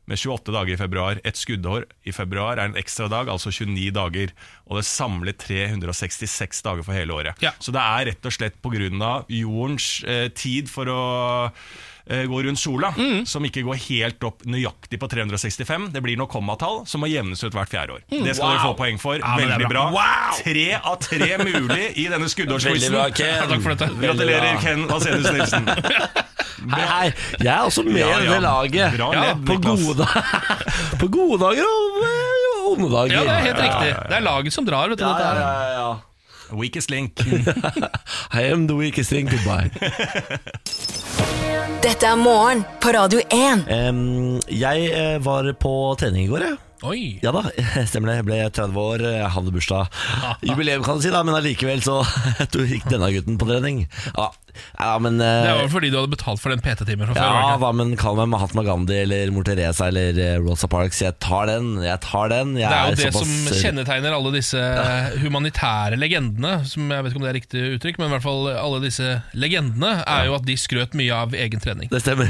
Speaker 7: med 28 dager i februar. Et skuddår i februar er en ekstra dag, altså 29 dager. Og det samler 366 dager for hele året.
Speaker 1: Ja.
Speaker 7: Så det er rett og slett pga. jordens eh, tid for å eh, gå rundt sola,
Speaker 1: Mm.
Speaker 7: som ikke går helt opp nøyaktig på 365. Det blir noe kommatall som må jevnes ut hvert fjerde år. Det skal dere få poeng for.
Speaker 1: Mm. men det er
Speaker 7: Veldig bra.
Speaker 1: bra. Wow!
Speaker 7: Tre av tre mulig i denne
Speaker 2: Veldig
Speaker 7: skuddårsquizen.
Speaker 2: bra, Ken.
Speaker 1: Ja, takk for dette.
Speaker 2: Veldig
Speaker 7: Gratulerer,
Speaker 2: bra.
Speaker 7: Ken Vasenius Nilsen.
Speaker 2: Hei, hei. Jeg er også med
Speaker 7: Ja,
Speaker 2: i
Speaker 7: ja.
Speaker 2: det laget.
Speaker 7: Bra
Speaker 2: Ja,
Speaker 7: ledd,
Speaker 2: på,
Speaker 7: Niklas.
Speaker 2: gode dager, på gode dager og eh, onde dager.
Speaker 1: Ja, det er helt riktig. Det er laget som drar, vet du.
Speaker 2: Ja,
Speaker 1: dette
Speaker 2: ja,
Speaker 1: her.
Speaker 2: ja, ja.
Speaker 7: Weakest link.
Speaker 2: I am the weakest thing, goodbye.
Speaker 3: Dette er morgen på Radio 1.
Speaker 2: Em, jeg eh, var på trening i går, jeg.
Speaker 1: Oi.
Speaker 2: Ja da, stemmer det. Jeg ble 30 år, eh, hadde bursdag. Jubileum, kan du si, da, men allikevel så du gikk denne gutten på trening. Ja, ja men eh,
Speaker 1: Det var vel fordi du hadde betalt for den PT-timen fra før?
Speaker 2: ja,
Speaker 1: var det ikke?
Speaker 2: hva, men kall meg Mahatma Gandhi eller Mor Teresa eller eh, Rosa Parks. Jeg tar den, jeg tar den. Jeg
Speaker 1: Det er jo det som
Speaker 2: såpass-
Speaker 1: kjennetegner alle disse humanitære legendene. Som Jeg vet ikke om det er riktig uttrykk, men i hvert fall alle disse legendene er jo at de skrøt mye av egen trening.
Speaker 2: Det stemmer.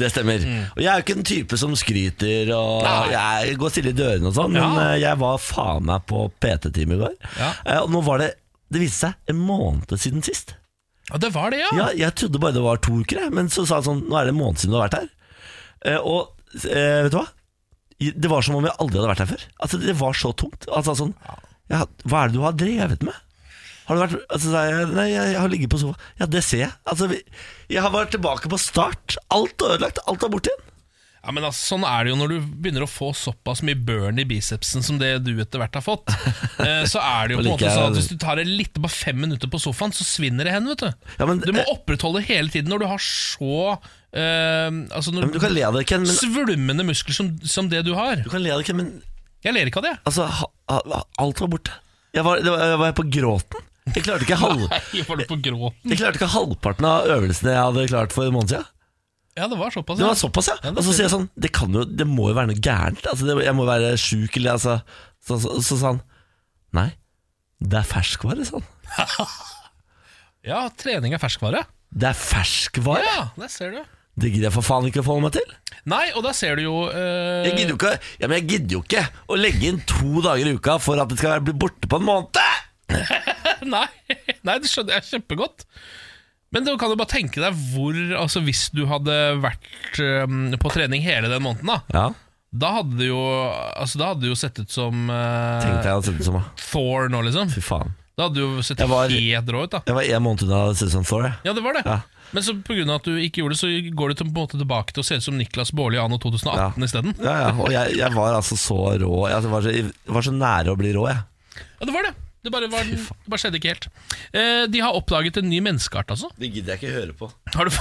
Speaker 2: det stemmer. Og jeg er jo ikke den type som skryter og
Speaker 1: Mm. Nei.
Speaker 2: jeg går stille i dørene og sånn, men
Speaker 1: Ja.
Speaker 2: eh, jeg var faen meg på PT-time i går.
Speaker 1: Ja.
Speaker 2: Eh, Og nå var det Det viste seg en måned siden sist.
Speaker 1: Ja, det var det, ja!
Speaker 2: Ja, jeg trodde bare det var to uker, jeg, men så sa han sånn Nå er det en måned siden du har vært her. Eh, Og eh, vet du hva? Det var som om jeg aldri hadde vært her før. Altså, det var så tungt. Han sa sånn ja, Hva er det du har drevet med? Har du vært altså, sa jeg, Nei, jeg, jeg har ligget på sofa. Ja, det ser jeg. Altså, vi, jeg har vært tilbake på start. Alt er ødelagt. Alt er borte igjen.
Speaker 1: Ja, men altså, Sånn er det jo når du begynner å få såpass mye burn i bicepsen som det du etter hvert har fått. eh, Så er det jo på en
Speaker 2: liker
Speaker 1: måte sånn
Speaker 2: jeg-
Speaker 1: at Hvis du tar det litt bare fem minutter på sofaen, så svinner det hen. vet Du
Speaker 2: Ja, men- eh,
Speaker 1: Du må opprettholde hele tiden når du har så eh, altså
Speaker 2: Ja,
Speaker 1: når,
Speaker 2: men du kan le av det, Ken, men,
Speaker 1: svulmende muskler som, som det du har.
Speaker 2: du kan le av det, Ken, men
Speaker 1: Jeg ler ikke av det. jeg.
Speaker 2: altså, ha, ha, alt var borte. Jeg var, det var, jeg var på gråten. Jeg klarte ikke, halv,
Speaker 1: Nei, var du på gråten?
Speaker 2: jeg klarte ikke halvparten av øvelsene jeg hadde klart for en måned siden.
Speaker 1: Ja, det var såpass.
Speaker 2: Det
Speaker 1: ja.
Speaker 2: var såpass, ja.
Speaker 1: det
Speaker 2: Og så
Speaker 1: ser
Speaker 2: sier jeg sånn Det, kan jo, det må jo være noe gærent. Altså, det, jeg må være sjuk, eller altså Så så- så sa han Nei, det er ferskvare, sa han.
Speaker 1: Ja, trening er ferskvare.
Speaker 2: Det er ferskvare?
Speaker 1: Ja, der ser du.
Speaker 2: Det gidder jeg for faen ikke å forholde meg til.
Speaker 1: Nei, og da ser du jo eh,
Speaker 2: Jeg gidder jo ikke, ja, men jeg gidder jo ikke å legge inn to dager i uka for at det skal være- bli borte på en måned!
Speaker 1: Nei, nei, det skjønner jeg kjempegodt. Men du kan jo bare tenke deg hvor Altså Hvis du hadde vært øhm, på trening hele den måneden, da
Speaker 2: Ja,
Speaker 1: Da hadde det jo Altså da hadde det jo sett ut som øh,
Speaker 2: tenkte jeg å sette det som
Speaker 1: Thor nå, liksom.
Speaker 2: Fy faen.
Speaker 1: Da hadde det jo sett
Speaker 2: Jeg var-
Speaker 1: helt rå ut, da.
Speaker 2: Jeg var én måned unna Susan Thor, jeg.
Speaker 1: Ja, det var det.
Speaker 2: Ja.
Speaker 1: Men så pga. at du ikke gjorde det, så går du til, på en måte tilbake til å se ut som Niklas Baarli anno 2018 isteden.
Speaker 2: Ja, ja, og jeg, jeg var altså så rå. Jeg var så, jeg var så nære å bli rå, jeg.
Speaker 1: Ja, det var det. Det bare, var, det bare skjedde ikke helt. Eh, de har oppdaget en ny menneskeart, altså.
Speaker 2: Det gidder jeg ikke høre på.
Speaker 1: Har du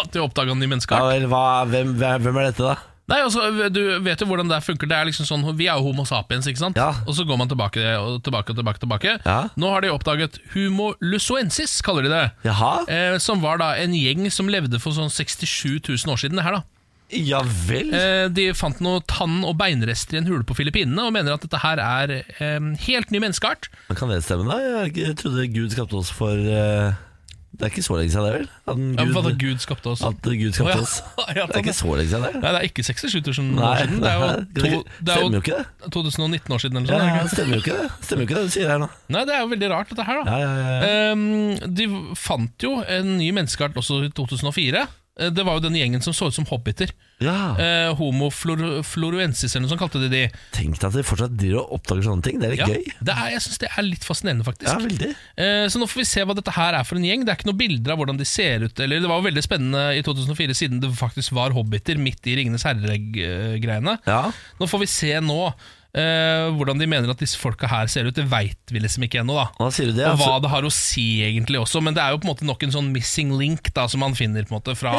Speaker 1: At de har oppdaga en ny menneskeart?
Speaker 2: Ja, vel, hva, hvem, hvem er dette, da?
Speaker 1: Nei, altså, Du vet jo hvordan det her funker. Det er liksom sånn, Vi er jo Homo sapiens, ikke sant?
Speaker 2: Ja.
Speaker 1: Og så går man tilbake og tilbake og tilbake. tilbake.
Speaker 2: Ja.
Speaker 1: Nå har de oppdaget Humo lusoensis, kaller de det.
Speaker 2: Jaha?
Speaker 1: Eh, som var da en gjeng som levde for sånn 67 000 år siden. det her da
Speaker 2: Ja vel?
Speaker 1: eh, De fant noe tann- og beinrester i en hule på Filippinene, og mener at dette her er eh, helt ny menneskeart.
Speaker 2: Men Kan det stemme, da? Jeg jeg trodde Gud skapte oss for eh, Det er ikke så lenge siden, det vel? At en
Speaker 1: Ja, men hva da
Speaker 2: Gud,
Speaker 1: Gud skapte oss?
Speaker 2: at Gud
Speaker 1: Å,
Speaker 2: skapte
Speaker 1: ja.
Speaker 2: oss.
Speaker 1: Ja,
Speaker 2: Det er ikke så lenge siden, det.
Speaker 1: Nei, det er ikke 67 000
Speaker 2: Nei,
Speaker 1: år siden. Det er jo,
Speaker 2: det er
Speaker 1: to,
Speaker 2: ikke-
Speaker 1: det er
Speaker 2: stemmer jo
Speaker 1: jo
Speaker 2: ikke det.
Speaker 1: 2019 år siden, eller
Speaker 2: Ja,
Speaker 1: noe
Speaker 2: ja,
Speaker 1: sånt. er det
Speaker 2: det stemmer jo
Speaker 1: ikke det?
Speaker 2: ikke det Stemmer jo ikke det du sier her nå.
Speaker 1: Nei, det er jo veldig rart, dette her. da
Speaker 2: Ja, ja, ja, ja.
Speaker 1: Ehm, de fant jo en ny menneskeart også i 2004. Eh, Det var jo den gjengen som så ut som hobbiter.
Speaker 2: ja.
Speaker 1: Eh, homo flor floruensis, eller noe sånt kalte de de.
Speaker 2: Tenk deg at de fortsatt driver og oppdager sånne ting. Det er litt
Speaker 1: Ja,
Speaker 2: gøy.
Speaker 1: det er, jeg syns det er litt fascinerende, faktisk.
Speaker 2: Ja, veldig.
Speaker 1: Eh, så nå får vi se hva dette her er for en gjeng. Det er ikke noen bilder av hvordan de ser ut. Eller Det var jo veldig spennende i 2004, siden det faktisk var hobbiter midt i Ringenes herre-greiene.
Speaker 2: Ja.
Speaker 1: Nå får vi se nå eh, hvordan de mener at disse folka her ser ut. Det veit vi liksom ikke ennå, da.
Speaker 2: Hva sier du det?
Speaker 1: Og hva
Speaker 2: Altså,
Speaker 1: det har å si egentlig også, men det er jo på en måte nok en sånn missing link da, som man finner på en måte fra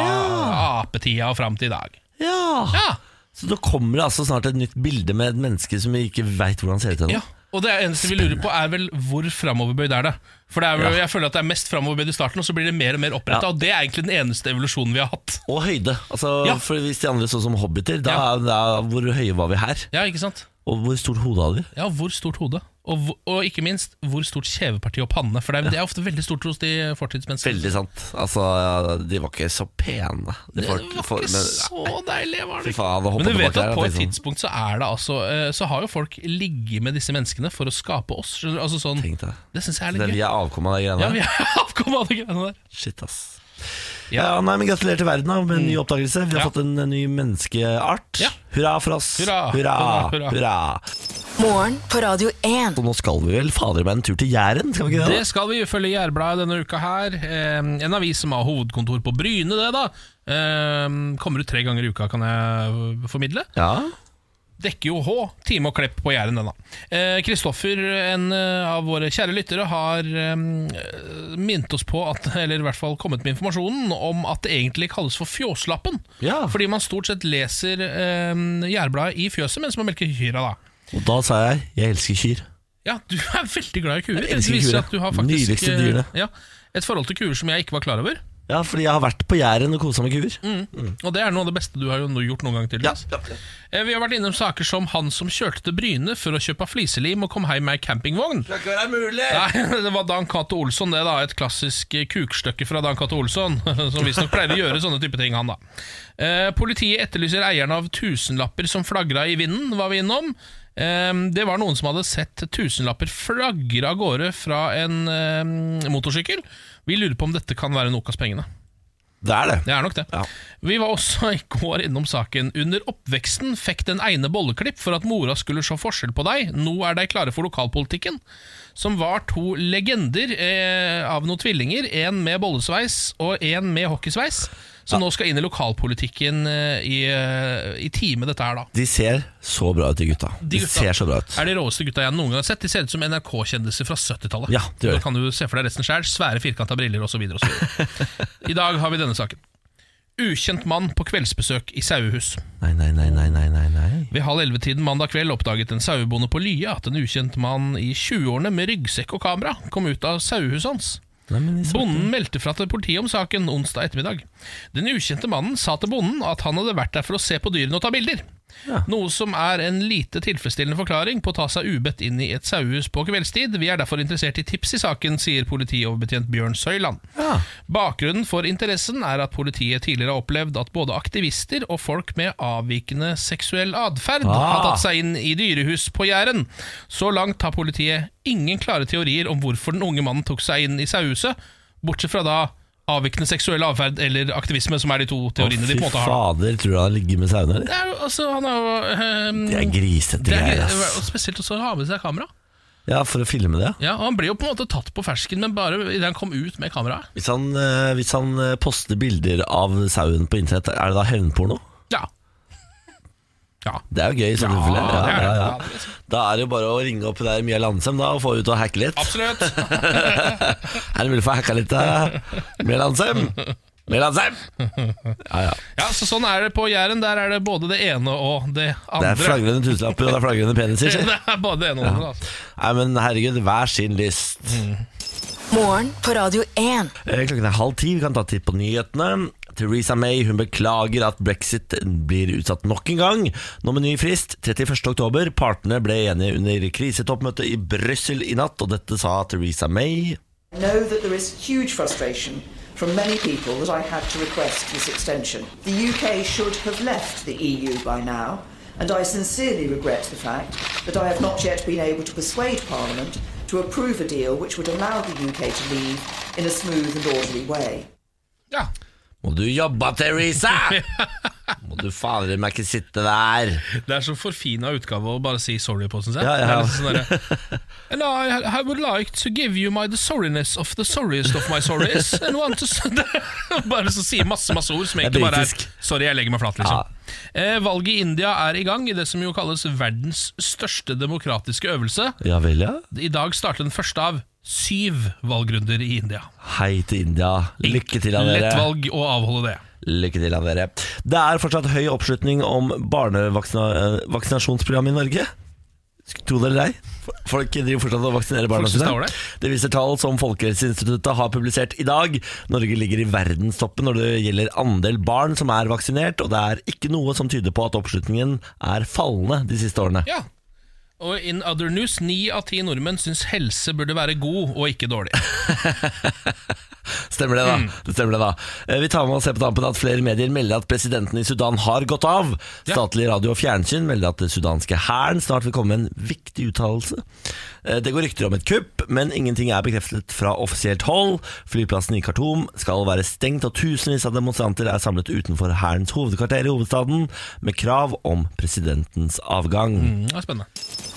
Speaker 1: apetida og fram til i dag.
Speaker 2: ja.
Speaker 1: Ja,
Speaker 2: Så da kommer det altså snart et nytt bilde med et menneske som vi ikke veit hvordan ser ut ennå.
Speaker 1: ja. Og det eneste vi lurer på er vel hvor framoverbøyd er det? For det er vel, jeg føler at det er mest framoverbøyd i starten, og så blir det mer og mer oppretta.
Speaker 2: Ja.
Speaker 1: Og det er egentlig den eneste evolusjonen vi har hatt.
Speaker 2: Og høyde. Altså,
Speaker 1: Ja.
Speaker 2: for Hvis de andre så som hobbiter, da,
Speaker 1: Ja.
Speaker 2: da hvor høye var vi her?
Speaker 1: Ja, ikke sant?
Speaker 2: Og hvor stort hode hadde de?
Speaker 1: Ja, hvor stort hode? Og, hvor- og ikke minst, hvor stort kjeveparti og panne? For det er, det er ofte veldig stort hos de fortidsmenneskene.
Speaker 2: Veldig sant. Altså, ja, de var ikke så pene. De
Speaker 1: Det var
Speaker 2: folk-
Speaker 1: ikke
Speaker 2: folk- men-
Speaker 1: så deilig, var
Speaker 2: Fy
Speaker 1: det ikke?
Speaker 2: faen,
Speaker 1: Men du vet at på et
Speaker 2: et
Speaker 1: tidspunkt så er det altså eh, Så har jo folk ligget med disse menneskene for å skape oss. skjønner du? Altså sånn,
Speaker 2: Tenk deg.
Speaker 1: det syns jeg er
Speaker 2: Det,
Speaker 1: litt
Speaker 2: vi er
Speaker 1: gøy.
Speaker 2: avkom av de greiene
Speaker 1: Ja,
Speaker 2: der.
Speaker 1: vi er avkom av de greiene der.
Speaker 2: Shit, ass.
Speaker 1: Ja. Mm.
Speaker 2: Ja, nei, men Gratulerer til verden da, med en ny oppdagelse. Vi har
Speaker 1: Ja.
Speaker 2: fått en ny menneskeart.
Speaker 1: Ja.
Speaker 2: Hurra for oss!
Speaker 1: Hurra,
Speaker 2: hurra,
Speaker 1: hurra, hurra.
Speaker 2: hurra.
Speaker 3: Morgen på Radio 1.
Speaker 2: Så nå skal vi vel fader meg en tur til Jæren? Skal vi ikke det?
Speaker 1: Det skal vi ifølge Jærbladet denne uka her. Eh, En avis som har hovedkontor på Bryne, det, da. Eh, Kommer ut tre ganger i uka, kan jeg formidle.
Speaker 2: da? Ja.
Speaker 1: dekker jo H, time og klepp på Jæren denne. Kristoffer, en eh, av våre kjære lyttere, har eh, minnet oss på, at, eller i hvert fall kommet med informasjonen, om at det egentlig kalles for fjåslappen.
Speaker 2: Ja.
Speaker 1: Fordi man stort sett leser eh, Jærbladet i fjøset mens man melker kyra, da.
Speaker 2: Og da sa jeg 'jeg elsker kyr'.
Speaker 1: Ja, du er veldig glad i kuer.
Speaker 2: Jeg elsker
Speaker 1: Det viser
Speaker 2: kuer.
Speaker 1: at du har faktisk,
Speaker 2: Nydeligste
Speaker 1: eh,
Speaker 2: dyrene.
Speaker 1: Ja, et forhold til kuer som jeg ikke var klar over.
Speaker 2: Ja, fordi jeg har vært på Jæren og kosa med kuer.
Speaker 1: Mm. Og det er noe av det beste du har jo nå gjort noen gang til. Eh, Vi har vært innom saker som han som kjørte til Bryne for å kjøpe fliselim og kom hjem med ei campingvogn. Det kan være mulig Nei, det var Dan Cato Olsson, det da. Et klassisk eh, kukstykke fra Dan Cato Olsson. Som visstnok pleier å gjøre sånne type ting, han da. Eh, Politiet etterlyser eieren av tusenlapper som flagra i vinden, var vi innom. Eh, Det var noen som hadde sett tusenlapper flagre av gårde fra en eh, motorsykkel. Vi lurer på om dette kan være Nokas pengene.
Speaker 2: Det er det.
Speaker 1: Det er nok det.
Speaker 2: Ja.
Speaker 1: Vi var også i går innom saken. Under oppveksten fikk den ene bolleklipp for at mora skulle se forskjell på deg. Nå er de klare for lokalpolitikken. Som var to legender eh, av noen tvillinger. En med bollesveis og en med hockeysveis. Som nå skal inn i lokalpolitikken eh, i, eh, i time dette her, da.
Speaker 2: De ser så bra ut, de gutta. De,
Speaker 1: gutta
Speaker 2: ser så bra ut.
Speaker 1: Er de råeste gutta jeg noen gang har sett. De ser ut som NRK-kjendiser fra 70-tallet.
Speaker 2: Ja, det gjør de.
Speaker 1: Da kan du se for deg resten sjøl. Svære, firkanta briller osv. I dag har vi denne saken. Ukjent mann på kveldsbesøk i sauehus.
Speaker 2: Nei, nei, nei, nei, nei, nei, nei.
Speaker 1: Ved halv elleve-tiden mandag kveld oppdaget en sauebonde på Lya at en ukjent mann i 20-årene med ryggsekk og kamera kom ut av sauehuset hans.
Speaker 2: nei men de så-
Speaker 1: Bonden meldte fra til politiet om saken onsdag ettermiddag. Den ukjente mannen sa til bonden at han hadde vært der for å se på dyrene og ta bilder. Noe som er en lite tilfredsstillende forklaring på å ta seg ubedt inn i et sauehus på kveldstid. Vi er derfor interessert i tips i saken, sier politioverbetjent Bjørn Søyland.
Speaker 2: Ja.
Speaker 1: Bakgrunnen for interessen er at politiet tidligere har opplevd at både aktivister og folk med avvikende seksuell atferd har
Speaker 2: Ah.
Speaker 1: tatt seg inn i dyrehus på Jæren. Så langt har politiet ingen klare teorier om hvorfor den unge mannen tok seg inn i sauehuset, bortsett fra da avvikende seksuell atferd eller aktivisme, som er de to
Speaker 2: Å,
Speaker 1: teoriene de
Speaker 2: fy
Speaker 1: på en måte har.
Speaker 2: fader, tror du han ligger med sauene, eller?
Speaker 1: Det er jo, altså, han er jo ehm,
Speaker 2: De er grisete
Speaker 1: det er
Speaker 2: greier,
Speaker 1: gre- og
Speaker 2: ass.
Speaker 1: Spesielt også å ha med seg kamera.
Speaker 2: Ja, for å filme det.
Speaker 1: Ja, og Han ble jo på en måte tatt på fersken, men bare idet han kom ut med kameraet.
Speaker 2: Hvis han, eh, hvis han eh, poster bilder av sauen på internett, er det da hevnporno?
Speaker 1: Ja. ja.
Speaker 2: Det er jo gøy i så tilfelle.
Speaker 1: det er det.
Speaker 2: Ja,
Speaker 1: Ja, det
Speaker 2: ja,
Speaker 1: er liksom-
Speaker 2: ja. Da er det jo bare å ringe opp der Mia Landsem da, og få ut og hacke litt.
Speaker 1: Absolutt.
Speaker 2: Er det mulig å få hacka litt da? Mia Landsem? Mia Landsem! Ja, ja.
Speaker 1: Ja, så Sånn er det på Jæren. Der er det både det ene og
Speaker 2: Det
Speaker 1: det andre.
Speaker 2: er flagrende tusenlapper og det er flagrende peniser. sier.
Speaker 1: Det er både det ene og det andre. Altså.
Speaker 2: Nei, men herregud, hver sin lyst.
Speaker 3: Morgen på Radio 1.
Speaker 2: Eh, Klokken er halv ti, vi kan ta tid på nyhetene. Theresa May hun beklager at brexit blir utsatt nok en gang. Nå med ny frist, 31. oktober. Partene ble enige under krisetoppmøtet i Brussel i natt, og dette sa Theresa May.
Speaker 8: know that there is huge frustration from many people that I had to request this extension. The UK should have left the EU by now, and I sincerely regret the fact that I have not yet been able to persuade Parliament to approve a deal which would allow the UK to leave in a smooth and orderly way.
Speaker 1: Ja.
Speaker 2: Må du jobbe, Theresa! Må du fader meg ikke sitte der.
Speaker 1: Det er så forfina utgave å bare si sorry på, syns jeg.
Speaker 2: Ja, ja, ja.
Speaker 1: Det er litt sånn derre, And I, I would like to give you my the sorriness of the sorriest of my sorries. And want to s- Bare så sier masse masse ord som
Speaker 2: Det er
Speaker 1: egentlig bare er
Speaker 2: britisk.
Speaker 1: Sorry, jeg legger meg flat, liksom. Eh, valget i India er i gang i det som jo kalles verdens største demokratiske øvelse.
Speaker 2: Ja vel, ja.
Speaker 1: I dag starter den første av syv valgrunder i India.
Speaker 2: Hei til India. Lykke til, av
Speaker 1: Lett
Speaker 2: dere.
Speaker 1: valg å avholde det.
Speaker 2: Lykke til, av dere. Det er fortsatt høy oppslutning om barnevaksinasjonsprogrammet i Norge. Tro det eller ei, folk driver fortsatt og vaksinerer barna
Speaker 1: Folk synes det er
Speaker 2: sine. Det viser tall som Folkehelseinstituttet har publisert i dag. Norge ligger i verdenstoppen når det gjelder andel barn som er vaksinert, og det er ikke noe som tyder på at oppslutningen er fallende de siste årene.
Speaker 1: Ja Og in other news, ni av ti nordmenn syns helse burde være god og ikke dårlig.
Speaker 2: Stemmer det, da.
Speaker 1: Mm.
Speaker 2: Det stemmer det da Eh, Vi tar med og ser på tampen at flere medier melder at presidenten i Sudan har gått av. Statlig radio og fjernsyn melder at den sudanske hæren snart vil komme med en viktig uttalelse. Eh, Det går rykter om et kupp, men ingenting er bekreftet fra offisielt hold. Flyplassen i Khartoum skal være stengt, og tusenvis av demonstranter er samlet utenfor hærens hovedkvarter i hovedstaden med krav om presidentens avgang.
Speaker 1: Mm, det er spennende.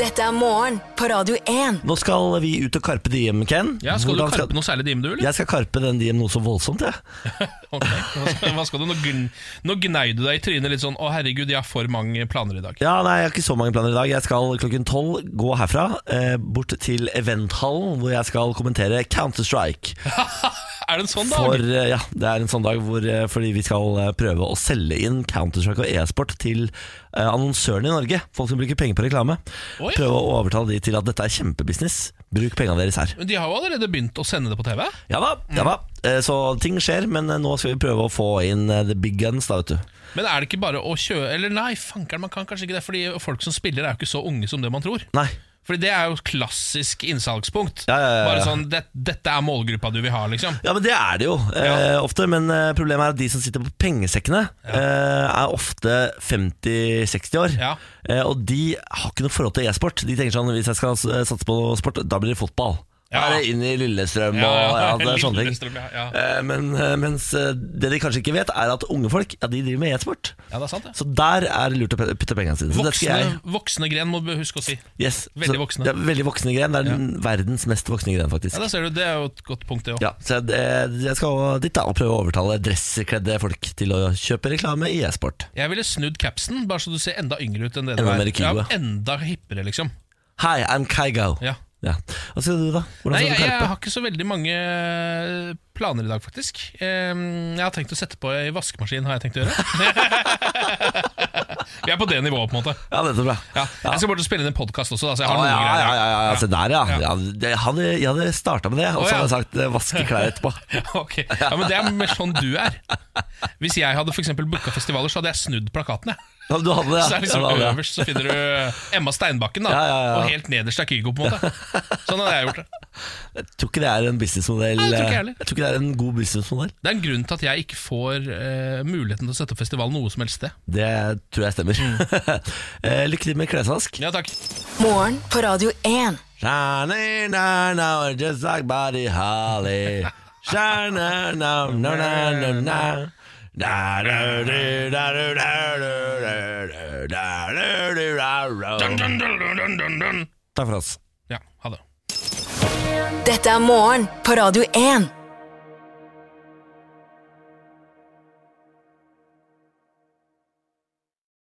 Speaker 3: Dette er morgen på Radio 1.
Speaker 2: Nå skal vi ut og karpe diem, Ken.
Speaker 1: Ja, skal
Speaker 2: Hvordan
Speaker 1: du karpe noe særlig dime, du, eller?
Speaker 2: Jeg skal karpe den diem noe så voldsomt, jeg.
Speaker 1: Ok, hva skal- Hva skal du? Nå, gn nå gnei du deg i trynet litt sånn 'Å, herregud, jeg har for mange planer i dag'.
Speaker 2: Ja, nei, Jeg har ikke så mange planer i dag. Jeg skal klokken tolv gå herfra eh, bort til eventhallen, hvor jeg skal kommentere Counter-Strike.
Speaker 1: Er det en sånn
Speaker 2: For
Speaker 1: dag?
Speaker 2: eh, ja, Det er en sånn dag hvor, eh, fordi vi skal eh, prøve å selge inn Counter-Strike og e-sport til eh, annonsørene i Norge. Folk som bruker penger på reklame.
Speaker 1: Oi.
Speaker 2: Prøve å overtale de til at dette er kjempebusiness. Bruk pengene deres her.
Speaker 1: Men De har jo allerede begynt å sende det på TV.
Speaker 2: Ja da, ja da. Eh, Så ting skjer, men eh, nå skal vi prøve å få inn eh, the big guns, da, vet du.
Speaker 1: Men er det ikke bare å kjøre Eller nei, fankeren, man kan kanskje ikke det. Fordi folk som spiller, er jo ikke så unge som det man tror.
Speaker 2: Nei.
Speaker 1: Fordi det er jo klassisk innsalgspunkt.
Speaker 2: Ja, ja, ja, ja.
Speaker 1: Bare sånn det, 'Dette er målgruppa du vil ha', liksom.
Speaker 2: Ja, men det er det jo eh, ofte. Men eh, problemet er at de som sitter på pengesekkene, eh, er ofte 50-60 år.
Speaker 1: Ja.
Speaker 2: Eh, og de har ikke noe forhold til e-sport. De tenker sånn hvis jeg skal eh, satse på sport, da blir det fotball. Da
Speaker 1: Ja.
Speaker 2: er det inn i Lillestrøm og ja,
Speaker 1: Ja, ja.
Speaker 2: det er sånne ting.
Speaker 1: Lillestrøm, ja, ja.
Speaker 2: Eh, Men, eh, mens eh, det de kanskje ikke vet, er at unge folk ja, de driver med e-sport.
Speaker 1: Ja, det er sant, det.
Speaker 2: Så der er det lurt å pe- putte pengene sine. Så det skal jeg,
Speaker 1: Voksne, voksne gren må du huske å si.
Speaker 2: yes.
Speaker 1: Veldig
Speaker 2: Så-
Speaker 1: voksne.
Speaker 2: Ja, veldig voksne gren. Det er den verdens mest voksne gren, faktisk.
Speaker 1: Ja, da ser du, Det er jo et godt punkt, det òg.
Speaker 2: Ja, så jeg, eh, jeg skal dit da og prøve å overtale dresskledde folk til å kjøpe reklame i e-sport.
Speaker 1: Jeg ville snudd capsen, bare så du ser enda yngre ut enn det du
Speaker 2: Enda
Speaker 1: er.
Speaker 2: mer kygo,
Speaker 1: Ja,
Speaker 2: ja.
Speaker 1: enda hippere, liksom.
Speaker 2: Hi, I'm Kygo.
Speaker 1: Ja.
Speaker 2: Hva skal du da? Hvordan
Speaker 1: Nei,
Speaker 2: skal
Speaker 1: jeg,
Speaker 2: du
Speaker 1: jeg
Speaker 2: karpe?
Speaker 1: har ikke så veldig mange eh, planer i dag, faktisk. Ehm, Jeg har tenkt å sette på ei vaskemaskin, har jeg tenkt å gjøre. Vi er på det nivået, på en måte.
Speaker 2: Ja, dette er bra.
Speaker 1: Ja. Jeg skal bort og spille inn en podkast også, da, så jeg
Speaker 2: Ja,
Speaker 1: har noen
Speaker 2: ja,
Speaker 1: greier.
Speaker 2: ja, ja, ja,
Speaker 1: Ja.
Speaker 2: se der, ja. ja. det- Jeg hadde, jeg hadde starta med det, og
Speaker 1: Å,
Speaker 2: så
Speaker 1: ja.
Speaker 2: hadde jeg sagt eh, vaske klær etterpå.
Speaker 1: Ok, ja, men Det er mer sånn du er. Hvis jeg hadde for eksempel booka festivaler, så hadde jeg snudd plakatene.
Speaker 2: Ja, du hadde det, ja.
Speaker 1: Så er det liksom
Speaker 2: ja, du hadde det.
Speaker 1: Øverst så finner du Emma Steinbakken, da
Speaker 2: Ja, ja, ja.
Speaker 1: og helt nederst er Kygo. på en måte Sånn hadde jeg gjort det.
Speaker 2: Jeg tror ikke det er en businessmodell
Speaker 1: Nei, jeg tror ikke
Speaker 2: eh,
Speaker 1: heller.
Speaker 2: Jeg tror ikke det er en god businessmodell.
Speaker 1: Det er en grunn til at jeg ikke får eh, muligheten til å sette opp festival noe som helst sted.
Speaker 2: Det tror jeg stemmer.
Speaker 1: Mm.
Speaker 2: Eh, Lykke til med klesvask.
Speaker 1: Ja takk
Speaker 3: Morgen på Radio 1.
Speaker 2: Shiny now now just like Buddy Holly. Shiny now no no no no. Da, da, do, da, do, da, do, da, do, da, do, do, da, ro. Takk for oss.
Speaker 1: Ja, ha det.
Speaker 3: Dette er morgen på Radio 1.